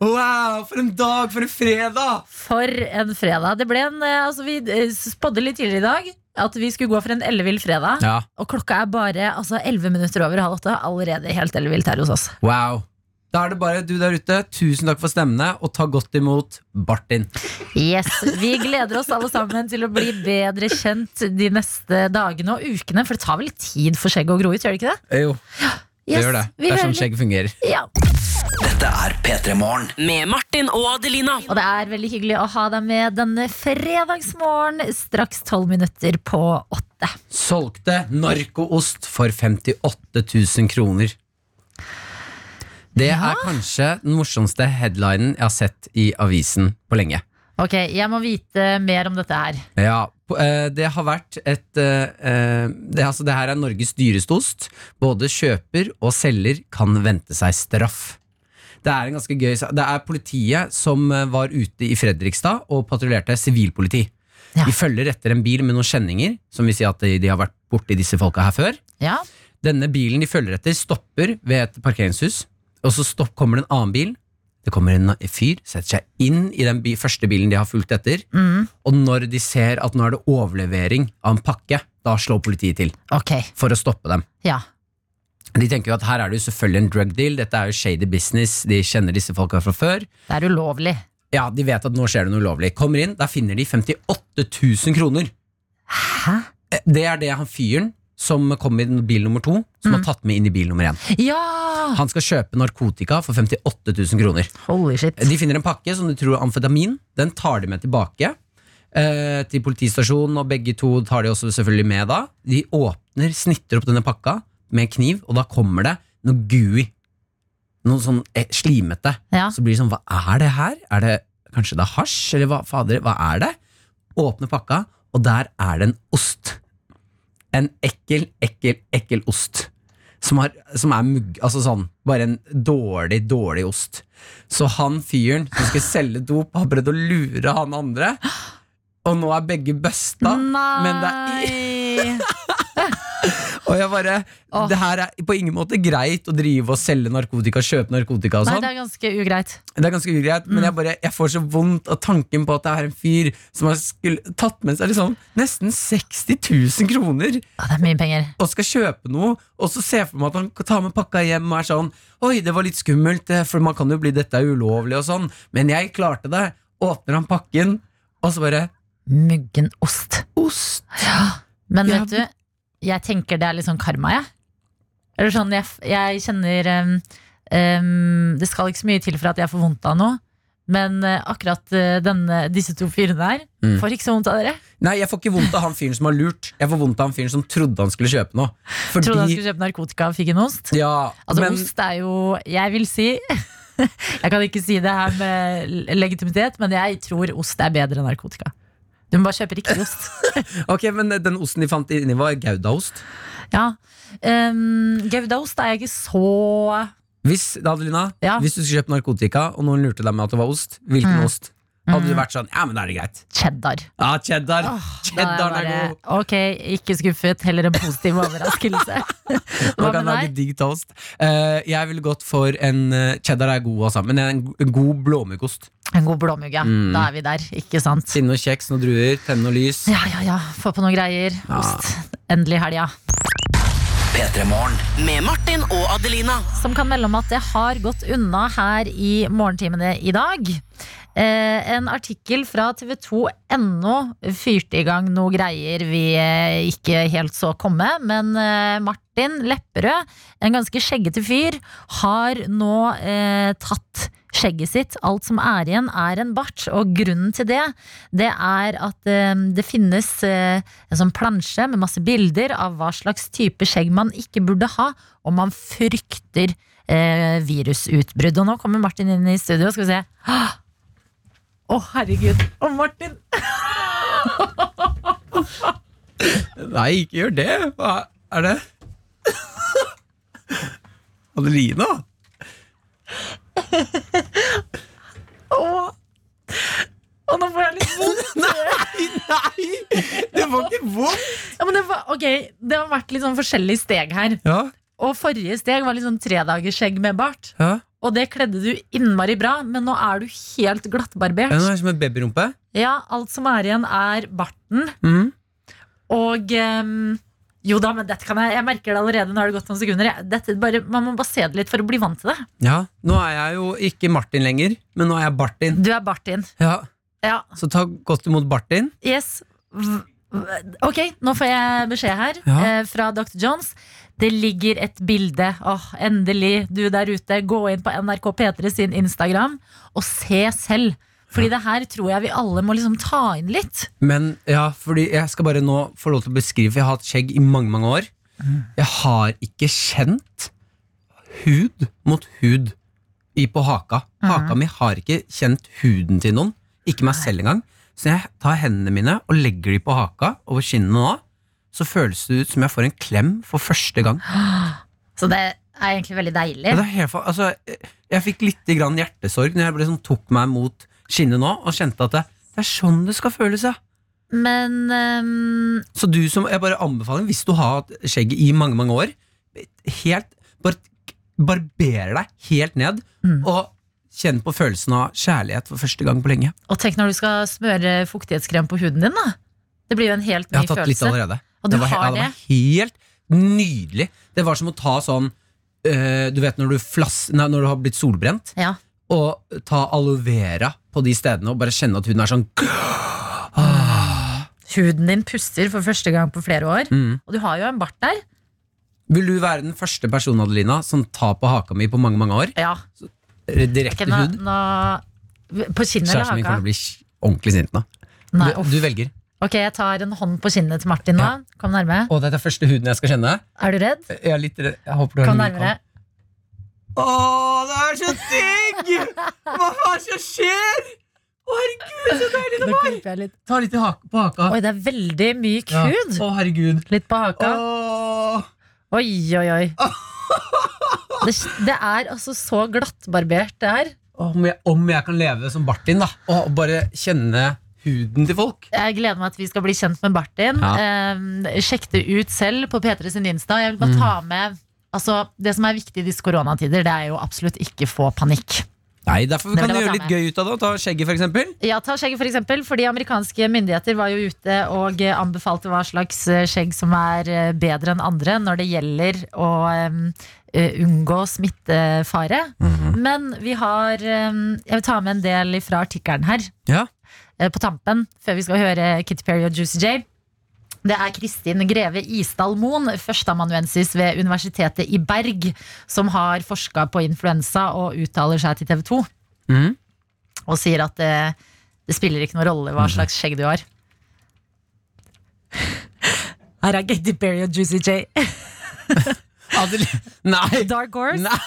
Wow, for en dag, for en fredag! For en fredag. Det ble en, eh, altså vi eh, spådde litt tidligere i dag at vi skulle gå for en ellevill fredag. Ja, Og klokka er bare altså, 11 minutter over halv åtte. Allerede helt ellevilt her hos oss. wow. Da er det bare du der ute. Tusen takk for stemmene, og ta godt imot Bartin. Yes, Vi gleder oss alle sammen til å bli bedre kjent de neste dagene og ukene. For det tar vel litt tid for skjegget å gro ut, gjør det ikke det? Jo, det Yes, gjør det. Eh, vi Det er hører sånn litt- skjegg fungerer. Ja. Med Martin og Adelina. Og det er veldig hyggelig å ha deg med denne fredagsmorgen straks 12 minutter på åtte. Solgte narkoost for 58 000 kroner. Det er kanskje den morsomste headlinen jeg har sett i avisen på lenge. Ok, jeg må vite mer om dette her. Ja, på- eh, det har vært et eh, eh, det, altså, det her er Norges dyreste ost. Både kjøper og selger kan vente seg straff. Det er en ganske gøy sa- Det er politiet som eh, var ute i Fredrikstad og patruljerte sivilpoliti. Ja. De følger etter en bil med noen kjenninger, som vil si at de, de har vært borti disse folka her før. Ja, Denne bilen de følger etter, stopper ved et parkeringshus, og så stopp, kommer det en annen bil. Det kommer en fyr, setter seg inn i den bi første bilen de har fulgt etter, mm, og når de ser at nå er det overlevering av en pakke, da slår politiet til ok. for å stoppe dem. Ja. De tenker jo at her er det jo selvfølgelig en drug deal, dette er jo shady business, de kjenner disse folka fra før. Det er ulovlig. Ja, de vet at nå skjer det noe ulovlig. Kommer inn, der finner de 58 000 kroner. Hæ? Eh, Det er det han fyren som kom i bil nummer to, som har tatt med inn i bil nummer én. Ja! Han skal kjøpe narkotika for 58 000 kroner. Holy shit. De finner en pakke som de tror er amfetamin. Den tar de med tilbake eh, til politistasjonen, og begge to tar de også selvfølgelig med da. De åpner, snitter opp denne pakka med en kniv, og da kommer det noe gooey. Noe sånn eh, slimete. Ja. Så blir det sånn, hva er det her? Er det, kanskje det er hasj? Eller hva, fader, hva er det? Åpner pakka, og der er det en ost. En ekkel, ekkel, ekkel ost. Som, har, som er mugg... Altså sånn, bare en dårlig, dårlig ost. Så han fyren som skal selge dop, har prøvd å lure han andre. Og nå er begge busta. Men det er, Nei! Og jeg bare Åh. Det her er på ingen måte greit å drive og selge narkotika, kjøpe narkotika og Nei, sånn. det er ganske ugreit. Det er ganske ugreit, men Mm. jeg, bare, jeg får så vondt av tanken på at det er en fyr som har skulle, tatt med seg liksom nesten 60 000 kroner Ja, det er mye penger. og skal kjøpe noe, og så ser jeg for meg at han tar med pakka hjem og er sånn Oi, det var litt skummelt, eh, for man kan jo bli dette er ulovlig og sånn, men jeg klarte det. Åpner han pakken, og så bare Muggen ost. Ost! Men Ja, vet du, jeg tenker det er litt sånn karma, jeg. Eller sånn, jeg, jeg kjenner um, um, Det skal ikke så mye til for at jeg får vondt av noe. Men uh, akkurat uh, denne, disse to fyrene her Mm. får ikke så vondt av dere. Nei, jeg får ikke vondt av han fyren som har lurt. Jeg får vondt av han fyren som trodde han skulle kjøpe noe. Fordi Trodde han skulle kjøpe narkotika og fikk en ost. Ja, Altså, men ost er jo Jeg vil si Jeg kan ikke si det her med l- legitimitet, men jeg tror ost er bedre enn narkotika. Du må bare kjøpe riktig ost. Ok, men eh, den osten de fant inni, var goudaost. Ja. Um, Goudaost er jeg ikke så Hvis, da, Adelina, Ja. hvis du skulle kjøpt narkotika, og noen lurte deg med at det var ost, hvilken Mm. ost? Hadde du vært sånn Ja, men da er det greit. cheddar. Ja, cheddar. Da er jeg Cheddaren er bare, god. Ok, ikke skuffet, heller en positiv overraskelse. Hva Man kan med lage deg? digg toast. Eh, jeg ville gått for en eh, Cheddar er god, altså, men en, en god blåmuggost. En god blåmugg, ja. Mm. Da er vi der, ikke sant? Siden noen kjeks, noen druer, tenne noe lys. Ja, ja, ja. Få på noen greier. Ja. Ost. Endelig helga. Med Martin og Adelina. Som kan melde om at det har gått unna her i morgentimene i dag. Eh, en artikkel fra tv2.no fyrte i gang noe greier vi eh, ikke helt så komme. Men eh, Martin Lepperød, en ganske skjeggete fyr, har nå eh, tatt skjegget sitt. Alt som er igjen, er en bart. Og grunnen til det, det er at eh, det finnes eh, en sånn plansje med masse bilder av hva slags type skjegg man ikke burde ha, og man frykter eh, virusutbrudd. Og nå kommer Martin inn i studio, skal vi se. Åh! Å, herregud. Å, Martin! Nei, ikke gjør det. Hva er det? Adelina? Å, Å, nå får jeg litt vondt. Nei! Det var ikke vondt! Ja, men det, var, ok, det har vært litt sånn forskjellige steg her. Ja, Og forrige steg var litt sånn tredagersskjegg med bart. ja. Og det kledde du innmari bra, men nå er du helt glattbarbert. Den er som en babyrumpe. Ja, alt som er igjen er barten Mhm. Og ehm, jo da, men dette kan jeg Jeg merker det allerede, nå har det gått noen sekunder jeg, dette bare, Man må bare se det litt for å bli vant til det Ja, Nå er jeg jo ikke Martin lenger, men nå er jeg Bartin. Du er Bartin Ja, Ja, Så ta godt imot Bartin. yes V- v- Ok, nå får jeg beskjed her Ja. eh, Fra Dr. Jones Det ligger et bilde Åh, endelig, du der ute Gå inn på NRK P3 sin Instagram Og se selv Fordi det her tror jeg vi alle må liksom ta inn litt Men ja, fordi jeg skal bare nå få lov til å beskrive, for jeg har hatt skjegg i mange, mange år. Jeg har ikke kjent hud mot hud i, på haka. Haka mi har ikke kjent huden til noen, ikke meg selv engang. Så jeg tar hendene mine og legger de på haka over kinnene nå. Så føles det ut som jeg får en klem for første gang. Så det er egentlig veldig deilig Ja, det er helt, fa- altså, jeg, jeg fikk litt grann hjertesorg når jeg ble sånn, tok meg mot kinnet nå og kjente at det, det er sånn det skal føles. Ja. Men ehm, Så du som, jeg bare anbefaler, hvis du har hatt skjegget i mange, mange år, helt, bare barberer deg helt ned, Mm. og kjenn på følelsen av kjærlighet for første gang på lenge. Og tenk når du skal smøre fuktighetskrem på huden din, da. Det blir jo en helt Jeg ny har tatt litt følelse. allerede. Og du det var, he- har ja, det. det var helt nydelig. Det var som å ta sånn, eh, du vet når du, flass, nei, når du har blitt solbrent, Ja. og ta aloe vera på de stedene, og bare kjenne at huden er sånn, Huden din puster for første gang på flere år. Mm. Og du har jo en bart der. vil du være den første personen, Adelina, som tar på haka mi på mange, mange år? Ja. Direkte Ok, nå, hud? nå, på kinnet eller Kjæresten min kommer til haka? å bli ordentlig sint nå. Nei, du, uff. du velger. Ok, jeg tar en hånd på kinnet til Martin nå. Ja. Kom nærme. Og dette er første huden jeg skal kjenne. Er du redd? Jeg er litt redd. Jeg håper du Kom nærmere. Å, det er så digg! Hva faen som skjer? Å, herregud, så deilig det var! Ta litt i hak- på haka. Oi, det er veldig myk Ja. hud. Å, herregud. Litt på haka. Å. Oi, oi, oi. Det, det er altså så glattbarbert, det her. Om, jeg, om jeg kan leve som Bartin, da. Og bare kjenne huden til folk. Jeg gleder meg til vi skal bli kjent med Martin. Ja. Eh, sjekk det ut selv på P3 sin Insta. Jeg vil Mm. bare ta med altså, Det som er viktig i disse koronatider, det er jo absolutt ikke få panikk. Nei, Derfor Det kan vil du jeg gjøre ta litt med. gøy ut av det. og Ta skjegget, for eksempel. Ja, ta skjegget for eksempel, fordi amerikanske myndigheter var jo ute og eh, anbefalte hva slags eh, skjegg som er eh, bedre enn andre når det gjelder å em, eh, unngå smittefare. Men vi har em, Jeg vil ta med en del fra artikkelen her Ja. eh, på tampen, før vi skal høre Kitty Perry og Juicy J. Det er Kristin Greve Isdal Moen, førsteamanuensis ved Universitetet i Berg, som har forska på influensa og uttaler seg til TV 2 Mm. Mhm. og sier at det, det spiller ikke noen rolle hva slags skjegg du har. Her er Katy Perry og Juicy J. Adel- Nei! Dark Horse. Nei.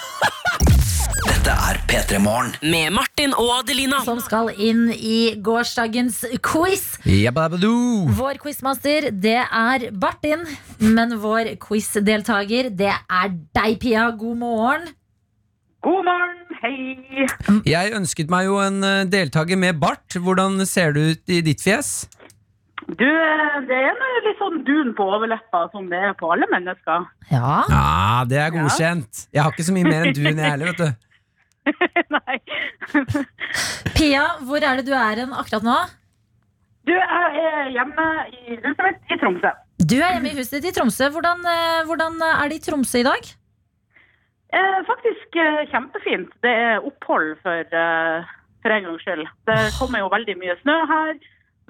Med Martin og Adelina. Som skal inn i gårsdagens quiz. Jabba-dabba-doo. Vår quizmaster, det er Bartin. Men vår quizdeltaker, det er deg, Pia. God morgen. God morgen, hei. Jeg ønsket meg jo en eh, deltaker med bart. Hvordan ser det ut i ditt fjes? Du, eh, det er noe litt sånn dun på overleppa som det er på alle mennesker. Ja. Ja, Ah, det er godkjent. Jeg har ikke så mye mer enn du enn jeg heller, vet du. Nei. Pia, hvor er det du er hen akkurat nå? Du, jeg er hjemme i huset mitt i Tromsø. Du er hjemme i huset ditt i Tromsø. Hvordan, eh, hvordan er det i Tromsø i dag? Eh, faktisk eh, kjempefint. Det er opphold for, eh, for en gangs skyld. Det kommer jo veldig mye snø her,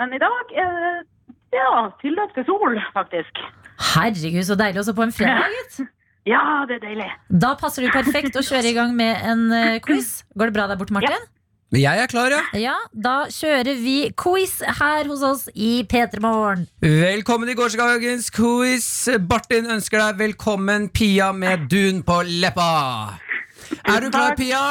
men i dag er det ja, tilløp til sol, faktisk. Herregud, så deilig også på en fredag, gitt. Ja, det er deilig. Da passer det jo perfekt å kjøre i gang med en eh, quiz. Går det bra der borte, Martin? Men jeg er klar, ja. Ja. Da kjører vi quiz her hos oss i P3 Morgen. Velkommen til gårsdagens quiz. Bartin ønsker deg velkommen, Pia med dun på leppa. Er du klar, takk. Pia?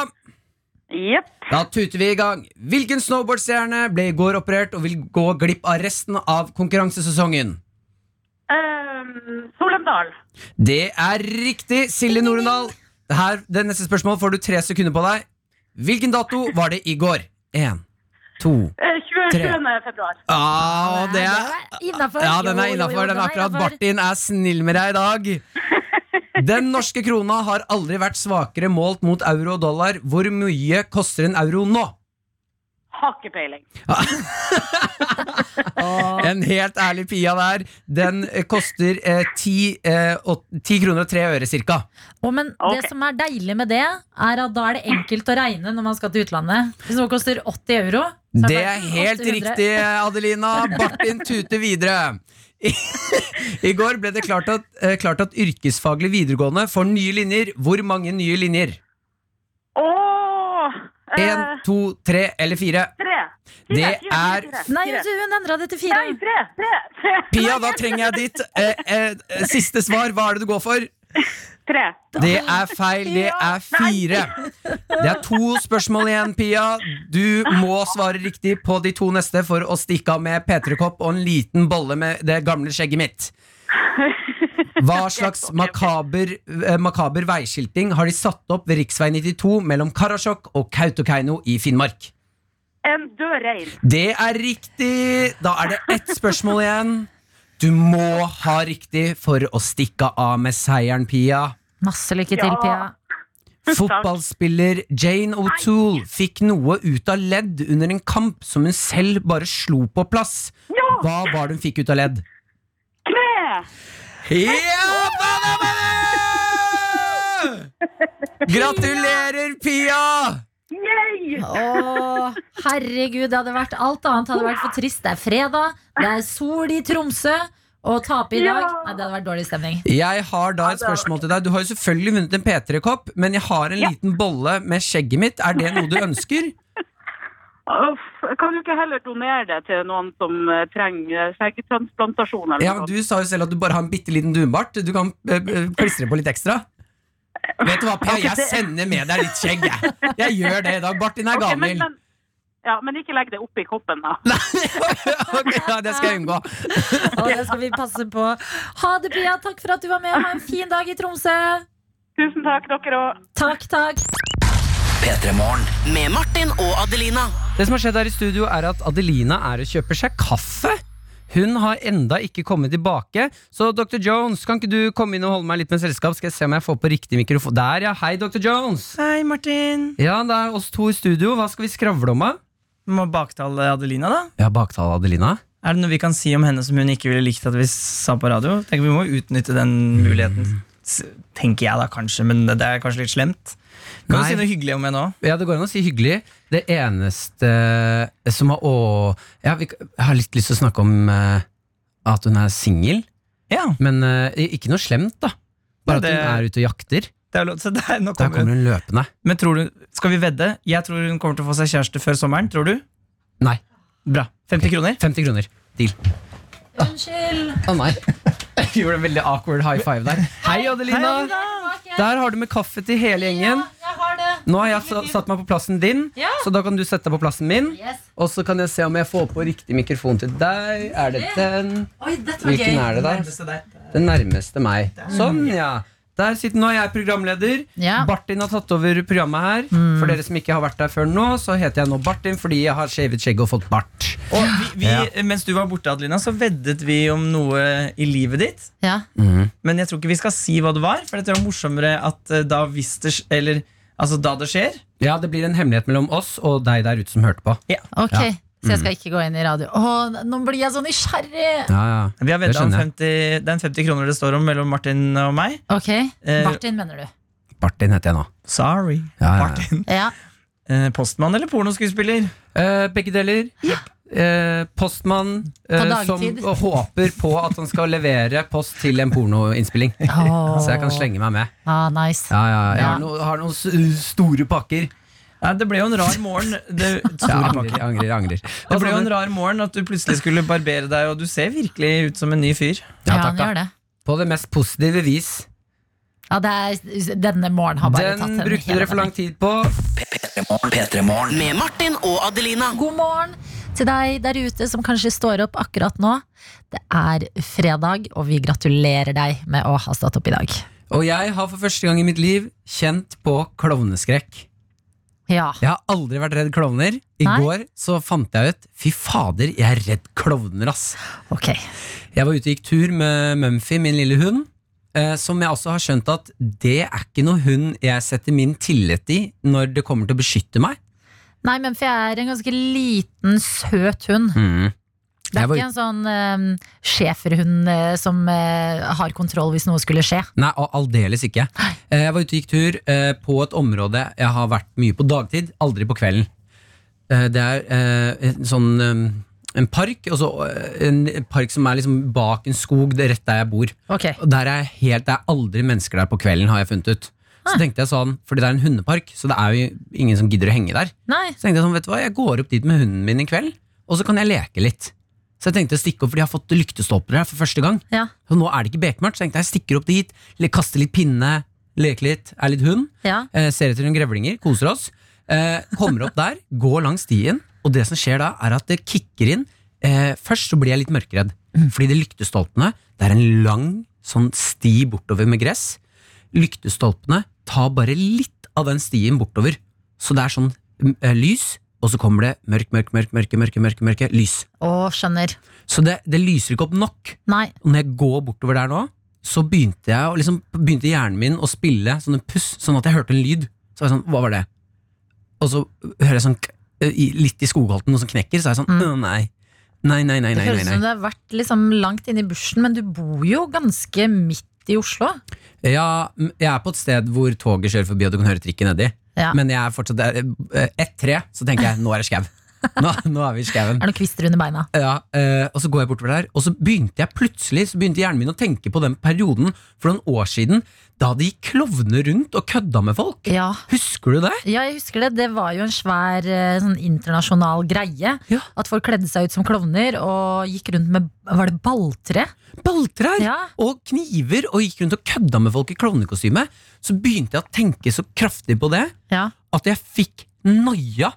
Jepp. Da tuter vi i gang. Hvilken snowboardstjerne ble i går operert og vil gå glipp av resten av konkurransesesongen? Eh, Solendal. Det er riktig, Silje Norendal. Det Her, det neste spørsmålet får du tre sekunder på deg. Hvilken dato var det i går? Én, to Eh, 27. februar. ah, det er, Innafor. Ja, den er innafor. Den er akkurat Bartin er snill med deg i dag. Den norske krona har aldri vært svakere målt mot euro og dollar. Hvor mye koster en euro nå? Har ikke peiling. En helt ærlig Pia der. Den eh, koster eh, 10, eh, åt- 10 kroner og 3 øre cirka. Å, men Ok. det som er deilig med det, er at da er det enkelt å regne når man skal til utlandet. Hvis noe koster 80 euro så Det bare er helt 800. riktig, Adelina. Bartin tuter videre. I, I går ble det klart at, eh, klart at yrkesfaglig videregående får nye linjer. Hvor mange nye linjer? Åh! eh, Én, to, tre eller fire? tre. Fire, Det fire, fire, er fire, Nei, fire. du, hun endra det til fire. Nei, tre, tre, tre. Pia, da trenger jeg ditt eh, eh, eh, siste svar. Hva er det du går for? Tre. Det er feil. Det er fire. Det er to spørsmål igjen, Pia. Du må svare riktig på de to neste for å stikke av med P3-kopp og en liten bolle med det gamle skjegget mitt. Hva slags makaber, eh, makaber veiskilting har de satt opp ved rv. 92 mellom Karasjok og Kautokeino i Finnmark? En død rein. Det er riktig! Da er det ett spørsmål igjen. Du må ha riktig for å stikke av med seieren, Pia. Masse lykke til, Ja. Pia. Fotballspiller Jane O'Toole fikk noe ut av ledd under en kamp som hun selv bare slo på plass. Hva var det hun fikk ut av ledd? Kne! Ja, da, da, da, da! Gratulerer, Pia! Yay! Åh, herregud, det hadde vært alt annet hadde vært for trist. Det er fredag, det er sol i Tromsø. Å tape i dag Ja. Nei, Det hadde vært dårlig stemning. Jeg har da et det har vært- spørsmål til deg. Du har jo selvfølgelig vunnet en P3-kopp, men jeg har en liten bolle med skjegget mitt. Er det noe du ønsker? Uff, kan du ikke heller donere det til noen som eh, trenger skjeggtransplantasjon? eller Ja, noe men Du sånt? sa jo selv at du bare har en bitte liten dunbart. Du kan eh, eh, klistre på litt ekstra. Vet du hva, Per, jeg sender med deg litt skjegg, jeg. Jeg gjør det i dag. Bartin er Ok, men, gammel. men, ja, men ikke legg det oppi koppen, da. Ok, ja, det skal jeg unngå. Og det skal vi passe på. Ha det, Pia. Takk for at du var med. Ha en fin dag i Tromsø. Tusen takk, dere òg. Takk, takk. Med Martin og Adelina. Det som har skjedd her i studio, er at Adelina er og kjøper seg kaffe. Hun har enda ikke kommet tilbake. Så Dr. Jones, kan ikke du komme inn og holde meg litt med selskap? Skal jeg se om jeg får på riktig mikrofon Der, ja. Hei, Dr. Jones. Hei, Martin. Ja, det er oss to i studio. Hva skal vi skravle om, da? Må baktale Adelina, da. Ja, baktale Adelina. Er det noe vi kan si om henne som hun ikke ville likt at vi sa på radio? Tenker Vi må utnytte den muligheten. S- Tenker jeg da, kanskje, men det er kanskje litt slemt. Nei. Kan du si noe hyggelig om henne òg? Ja, det går an å si hyggelig. Det eneste eh, som har å ja, vi, Jeg har litt lyst til å snakke om eh, at hun er singel, Ja, men eh, ikke noe slemt, da. Bare Nei, det- at hun er ute og jakter. det er lov. Så der, nå Der kommer hun. kommer hun løpende. Men tror du, skal vi vedde? Jeg tror hun kommer til å få seg kjæreste før sommeren. Tror du? Nei. Bra. 50 kroner? 50 kroner. Deal. Unnskyld! Å nei. Jeg gjorde en veldig awkward high five der. Hei, Adelina. Der har du med kaffe til hele gjengen. Jeg har det. Nå har jeg sa- satt meg på plassen din, Ja. så da kan du sette deg på plassen min. Yes. Og så kan jeg se om jeg får på riktig mikrofon til deg. Er det den? Oi, dette var Hvilken gøy. er det der? Den nærmeste meg. Sånn, ja. Der sitter, nå er jeg programleder. Ja. Bartin har tatt over programmet her. For dere som ikke har vært der før nå, så heter jeg nå Bartin fordi jeg har shavet skjegg og fått bart. Og vi, vi, Mens du var borte, Adelina, så veddet vi om noe i livet ditt. Ja. Men jeg tror ikke vi skal si hva det var, for det er morsommere at eh, da hvis det sk- Eller altså da det skjer. Ja, det blir en hemmelighet mellom oss og deg der ute som hørte på. Ok, Mm. så jeg skal ikke gå inn i radio. Å, nå blir jeg så nysgjerrig! Ja, ja. Vi har Det vedda om skjønner 50, det er en 50 kroner det står om mellom Martin og meg. Ok, Eh, Martin mener du. Bartin heter jeg nå. Sorry, Ja, ja, ja. Martin. Mm. Ja. Eh, postmann eller pornoskuespiller? Eh, begge deler. Eh, postmann eh, som dagtid. håper på at han skal levere post til en pornoinnspilling. Åh. Så jeg kan slenge meg med. Ah, nice. Ja, ja, jeg Ja. har, no, har noen s- store pakker. Nei, det ble jo en rar morgen. Det, Jeg Store angrer, pakker. jeg angrer. jeg angrer. det ble jo en rar morgen at du plutselig skulle barbere deg, og du ser virkelig ut som en ny fyr. Ja, Ja, takk, han da. gjør det. På det mest positive vis. Ja, det er, denne morgenen har bare tatt Den henne brukte hele dere for lang tid på. Med Martin og Adelina. God morgen til deg der ute som kanskje står opp akkurat nå. Det er fredag, og vi gratulerer deg med å ha stått opp i dag. Og jeg har for første gang i mitt liv kjent på klovneskrekk. Ja. Jeg har aldri vært redd klovner. I Nei. går så fant jeg ut Fy fader, jeg er redd klovner, ass. Ok. Jeg var ute og gikk tur med Mumphy, min lille hund. eh, Som jeg også har skjønt at det er ikke noe hund jeg setter min tillit i når det kommer til å beskytte meg. Nei, men for jeg er en ganske liten, søt hund. Det Jeg er var ikke en sånn um, schæferhund eh, som eh, har kontroll hvis noe skulle skje. Nei, al- aldeles ikke. Eh, Jeg var ute og gikk tur eh, på et område jeg har vært mye på dagtid, aldri på kvelden. Eh, Det er eh, en sånn eh, en park, og så eh, en park som er liksom bak en skog, det er rett der jeg bor. Ok. Og der er jeg helt, det er aldri mennesker der på kvelden, har jeg funnet ut. Så tenkte jeg sånn, fordi det er en hundepark, så det er jo ingen som gidder å henge der. Nei. Så tenkte jeg sånn, vet du hva, jeg går opp dit med hunden min i kveld, og så kan jeg leke litt. Så jeg tenkte å stikke opp, for de har fått lyktestolper her for første gang. Ja. Så nå er det ikke bekmørkt, så tenkte jeg jeg stikker opp dit, le- kaster litt pinne, leker litt, er litt hund, Ja. eh, ser etter noen grevlinger, koser oss. Eh, kommer opp der, går langs stien, og det som skjer da, er at det kicker inn. Eh, først så blir jeg litt mørkeredd, fordi det er lyktestolpene, det er en lang sånn sti bortover med gress. Lyktestolpene tar bare litt av den stien bortover, så det er sånn mm, eh, lys, og så kommer det mørk, mørk, mørk, mørke, mørke, mørke, mørke, lys. Å, skjønner. Så det, det lyser ikke opp nok. Nei. Og når jeg går bortover der nå, så begynte, jeg, å- liksom, begynte hjernen min å spille sånne puss, sånn at jeg hørte en lyd. Så var jeg sånn, hva var det? Og så hører jeg sånn k- i- litt i skogholten, noe som knekker, så er jeg sånn, Mm. «Å, nei. Nei, nei, nei, Det nei, nei, føles som nei. det har vært liksom langt inne i bushen, men du bor jo ganske midt i Oslo. Ja, m- jeg er på et sted hvor toget kjører forbi og du kan høre trikket nedi. Ja. Men jeg er fortsatt der. eh, Ett tre, så tenker jeg, nå er det skau. Nå, nå er vi i skauen. Er det noen kvister under beina? Ja, eh, og så går jeg bortover der, og så begynte jeg plutselig Så begynte hjernen min å tenke på den perioden for noen år siden da det gikk klovner rundt og kødda med folk. Ja. Husker du det? Ja, jeg husker det. Det var jo en svær eh, sånn internasjonal greie. Ja. At folk kledde seg ut som klovner og gikk rundt med Var det balltre? Balltrær Ja. og kniver og gikk rundt og kødda med folk i klovnekostyme. Så begynte jeg å tenke så kraftig på det Ja. at jeg fikk noia.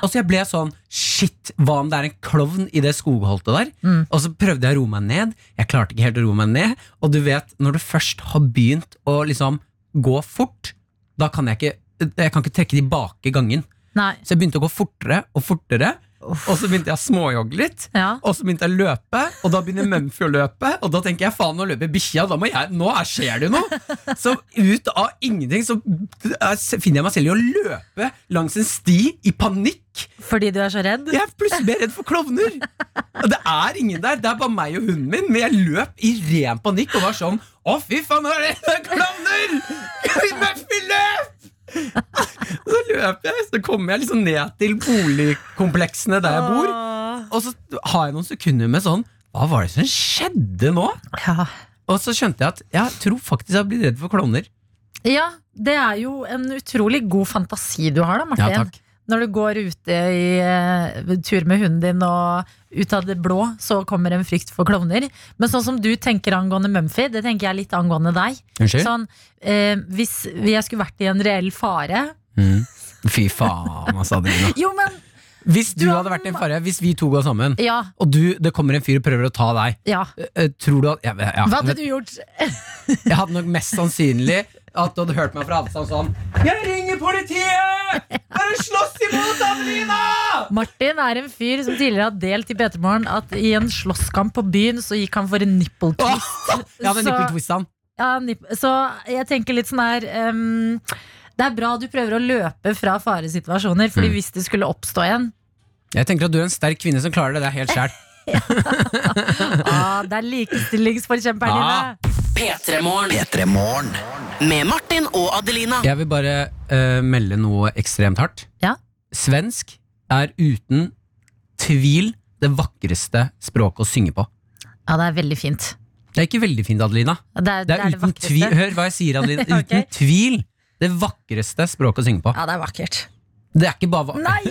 Altså Jeg ble sånn Shit, hva om det er en klovn i det skogholtet der? Mm. Og så prøvde jeg å roe meg ned. Jeg klarte ikke helt å roe meg ned. Og du vet, når du først har begynt å liksom gå fort, da kan jeg ikke Jeg kan ikke trekke tilbake gangen. Nei. Så jeg begynte å gå fortere og fortere. Og så begynte jeg å småjogge litt. Ja. Og så begynte jeg å løpe, og da begynner Mumphy å løpe. Og da tenker jeg faen, nå løper bikkja, da må jeg Nå er, skjer det jo noe! Så ut av ingenting så eh, finner jeg meg selv i å løpe langs en sti i panikk. Fordi du er så redd? Jeg er plutselig mer redd for klovner! Og det er ingen der, det er bare meg og hunden min. Men jeg løp i ren panikk og var sånn Å, fy faen, nå er det det er klovner! Muffy, løp! Så løp jeg, så kommer jeg liksom ned til boligkompleksene der jeg bor. Og så har jeg noen sekunder med sånn Hva var det som skjedde nå? Ja. Og så skjønte jeg at jeg tror faktisk jeg har blitt redd for klovner. ja, det er jo en utrolig god fantasi du har da, Martin. Når du går ute i eh, tur med hunden din, og ut av det blå så kommer en frykt for klovner. Men sånn som du tenker angående Mumphy, det tenker jeg litt angående deg. Unnskyld? Sånn, eh, hvis jeg skulle vært i en reell fare Mm. Fy faen, altså, Adelina. Jo, men Hvis du Du har- hadde vært i en fare, hvis vi to går sammen, ja, og du, det kommer en fyr og prøver å ta deg, ja. eh, eh, tror du at jeg, jeg, Hva hadde jeg, du gjort? jeg hadde nok mest sannsynlig at du hadde hørt meg fra avstand sånn Jeg ringer politiet! Bare slåss imot, Adelina! Martin er en fyr som tidligere har delt i Betermorgen at i en slåsskamp på byen så gikk han for en nipple twist. Jeg hadde Så- nippeltwistet han. Ja, nipp- så jeg tenker litt sånn her ehm, Det er bra du prøver å løpe fra faresituasjoner, Mm. Fordi hvis det skulle oppstå en Jeg tenker at du er en sterk kvinne som klarer det der helt sjæl. ah, Det er likestillingsforkjemperen Ah. dine. P3-morgen. Med Martin og Adelina. Jeg vil bare eh, melde noe ekstremt hardt. Ja. Svensk er uten tvil det vakreste språket å synge på. Ja, det er veldig fint. Det er ikke veldig fint, Adelina. Det er det, Det er er det uten tvil, vakreste. Hør hva jeg sier, Adelina. Ja, ok. Uten tvil det vakreste språket å synge på. Ja, det er vakkert. Det er ikke bare va- Nei!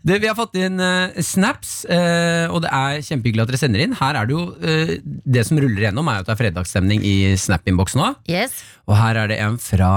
det, Vi har fått inn eh, snaps, eh, og det er kjempehyggelig at dere sender inn. Her er det jo eh, Det som ruller igjennom, er jo at det er fredagsstemning i snap-innboksen òg. Yes. Og her er det en fra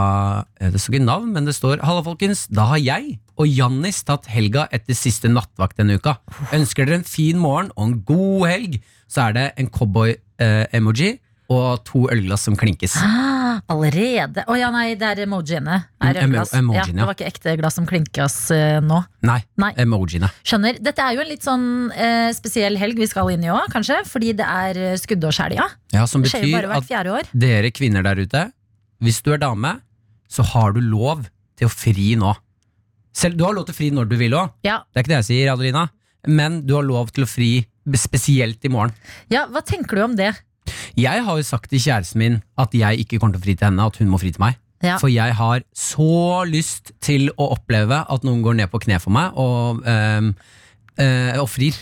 eh, Det står ikke navn, men det står Halla folkens, da har jeg og Jannis tatt helga etter siste nattvakt denne uka. Ønsker dere en fin morgen og en god helg, så er det en cowboy-emoji og to ølglass som klinkes. Ah, allerede. Å ja, nei, det er emojiene. Er Mm, Emo- glass. emojien, ja, det ja. var ikke ekte glass som klinkas eh, nå. Nei, Nei. emojiene. Skjønner. Dette er jo en litt sånn eh, spesiell helg vi skal inn i òg, kanskje. Fordi det er eh, skuddårshelga. Ja, som Det skjer jo betyr bare hvert at fjerde år. dere kvinner der ute, hvis du er dame, så har du lov til å fri nå. Selv, du har lov til å fri når du vil òg, Ja, det er ikke det jeg sier, Adelina, men du har lov til å fri spesielt i morgen. ja hva tenker du om det? Jeg har jo sagt til kjæresten min at jeg ikke kommer til å fri til henne, at hun må fri til meg. Ja. For jeg har så lyst til å oppleve at noen går ned på kne for meg og, ehm, eh, og frir.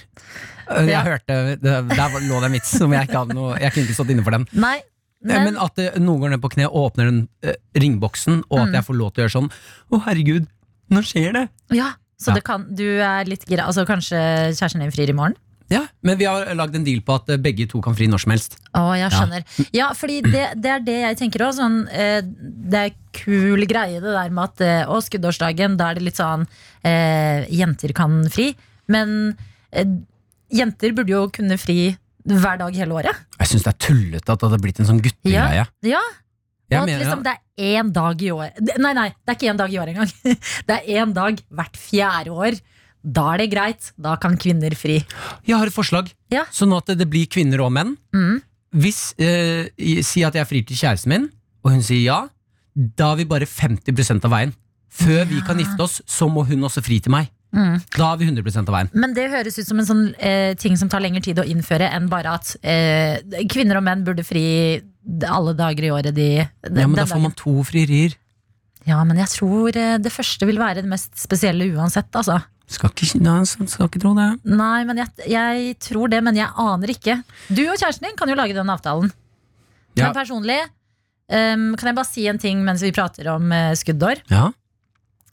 Eh, Jeg Ja. hørte, det- Der var- lå det en vits som jeg ikke hadde noe Jeg kunne ikke stått inne for den. Nei, Men, men, at eh, noen går ned på kne og åpner den eh, ringboksen, og at jeg får lov til å gjøre sånn. Å, herregud, nå skjer det! ja. Så Ja. Det kan, du er litt gira. Altså, kanskje kjæresten din frir i morgen? Ja, Men vi har lagd en deal på at eh, begge to kan fri når som helst. Å, jeg skjønner. Ja, fordi det, det er det jeg tenker òg. Sånn, eh, det er kul greie det der med at eh, Å, skuddårsdagen, da er det litt sånn eh, Jenter kan fri. Men eh, jenter burde jo kunne fri hver dag hele året. Jeg syns det er tullete at det hadde blitt en sånn guttegreie. Ja, Jeg og at mener- liksom det er én dag i år Det- Nei, nei, det er ikke én dag i år engang. Det er én dag hvert fjerde år. Da er det greit. Da kan kvinner fri. Jeg har et forslag. Ja. Sånn at det blir kvinner og menn. Mm. Hvis, eh, i- Si at jeg frir til kjæresten min, og hun sier ja. Da er vi bare 50 av veien. Før vi kan gifte oss, så må hun også fri til meg. Mm. Da er vi 100 av veien. Men det høres ut som en sånn eh, ting som tar lengre tid å innføre enn bare at eh, kvinner og menn burde fri alle dager i året de Ja, men den Da får dagen. man to frierier. Ja, men jeg tror eh, det første vil være det mest spesielle uansett, altså. Skal ikke, nei, skal ikke tro det. Nei, men jeg, jeg tror det, men jeg aner ikke. Du og kjæresten din kan jo lage den avtalen. Ja. Men personlig ehm, kan jeg bare si en ting mens vi prater om eh, skuddår? Ja,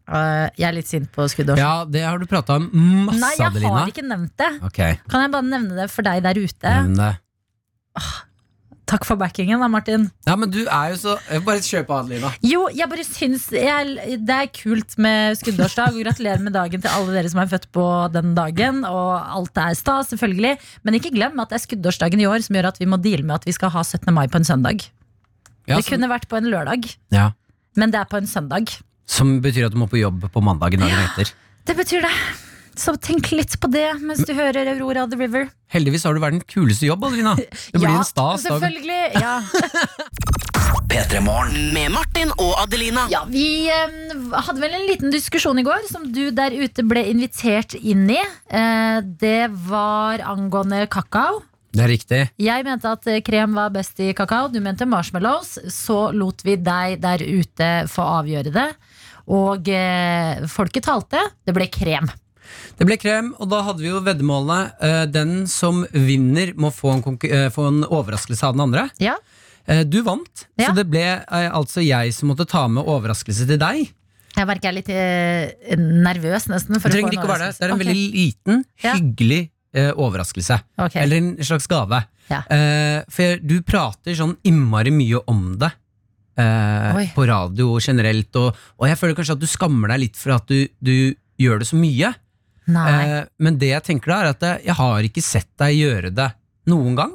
Eh, jeg er litt sint på skuddår. ja det har du prata om masse, Nei, jeg Adelina. har ikke nevnt det. Ok, Kan jeg bare nevne det for deg der ute? nevn det. Takk for backingen, da, Martin. Ja, men du er jo så jeg vil Bare kjør på, Adelina. Jo, jeg bare syns jeg, det er kult med skuddårsdag. Og gratulerer med dagen til alle dere som er født på den dagen. Og alt er stas, selvfølgelig. Men ikke glem at det er skuddårsdagen i år som gjør at vi må deale med at vi skal ha 17. mai på en søndag. Ja, det så- kunne vært på en lørdag, ja. men det er på en søndag. Som betyr at du må på jobb på mandagen dagen etter. Det betyr det. Så tenk litt på det mens du hører Aurora the River. Heldigvis har du verdens kuleste jobb, Adelina. Det blir ja, en stas dag. selvfølgelig. Ja. Med Martin og Adelina. Ja, Vi eh, hadde vel en liten diskusjon i går som du der ute ble invitert inn i. Eh, det var angående kakao. Det er riktig. Jeg mente at eh, krem var best i kakao, du mente marshmallows. Så lot vi deg der ute få avgjøre det. Og eh, folket talte. Det ble krem. Det ble krem, og da hadde vi jo veddemålene. eh, Den som vinner, må få en, konkur- eh, få en overraskelse av den andre. Ja. Eh, Du vant, Ja. så det ble eh, altså jeg som måtte ta med overraskelse til deg. Jeg merker jeg er litt eh, nervøs nesten. Du For å få trenger en ikke å være det. Det er en overraskelse. veldig liten, Ja. hyggelig eh, overraskelse. Ok, ok. Eller en slags gave. Ja. Eh, for jeg, du prater sånn innmari mye om det. eh, Oi. på radio generelt, og, og jeg føler kanskje at du skammer deg litt for at du, du gjør det så mye. Nei. Eh, men det jeg tenker da, er at jeg- jeg har ikke sett deg gjøre det noen gang.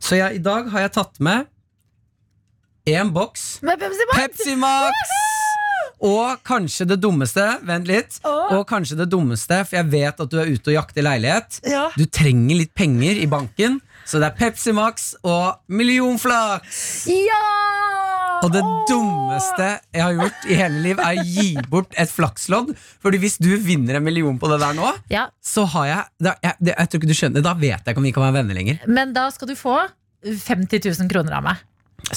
Så jeg, i dag har jeg tatt med én boks Men Pepsi Max! Pepsi Max! Og kanskje det dummeste, vent litt, Åh. og kanskje det dummeste, for jeg vet at du er ute og jakter leilighet. Ja. Du trenger litt penger i banken, så det er Pepsi Max og millionflaks! ja! Og det Åh! dummeste jeg har gjort i hele liv, er å gi bort et flakslodd. Fordi hvis du vinner en million på det der nå, Ja, så har jeg da, jeg, det, jeg tror ikke du skjønner, da vet jeg ikke om vi kan være venner lenger. Men da skal du få 50 000 kroner av meg.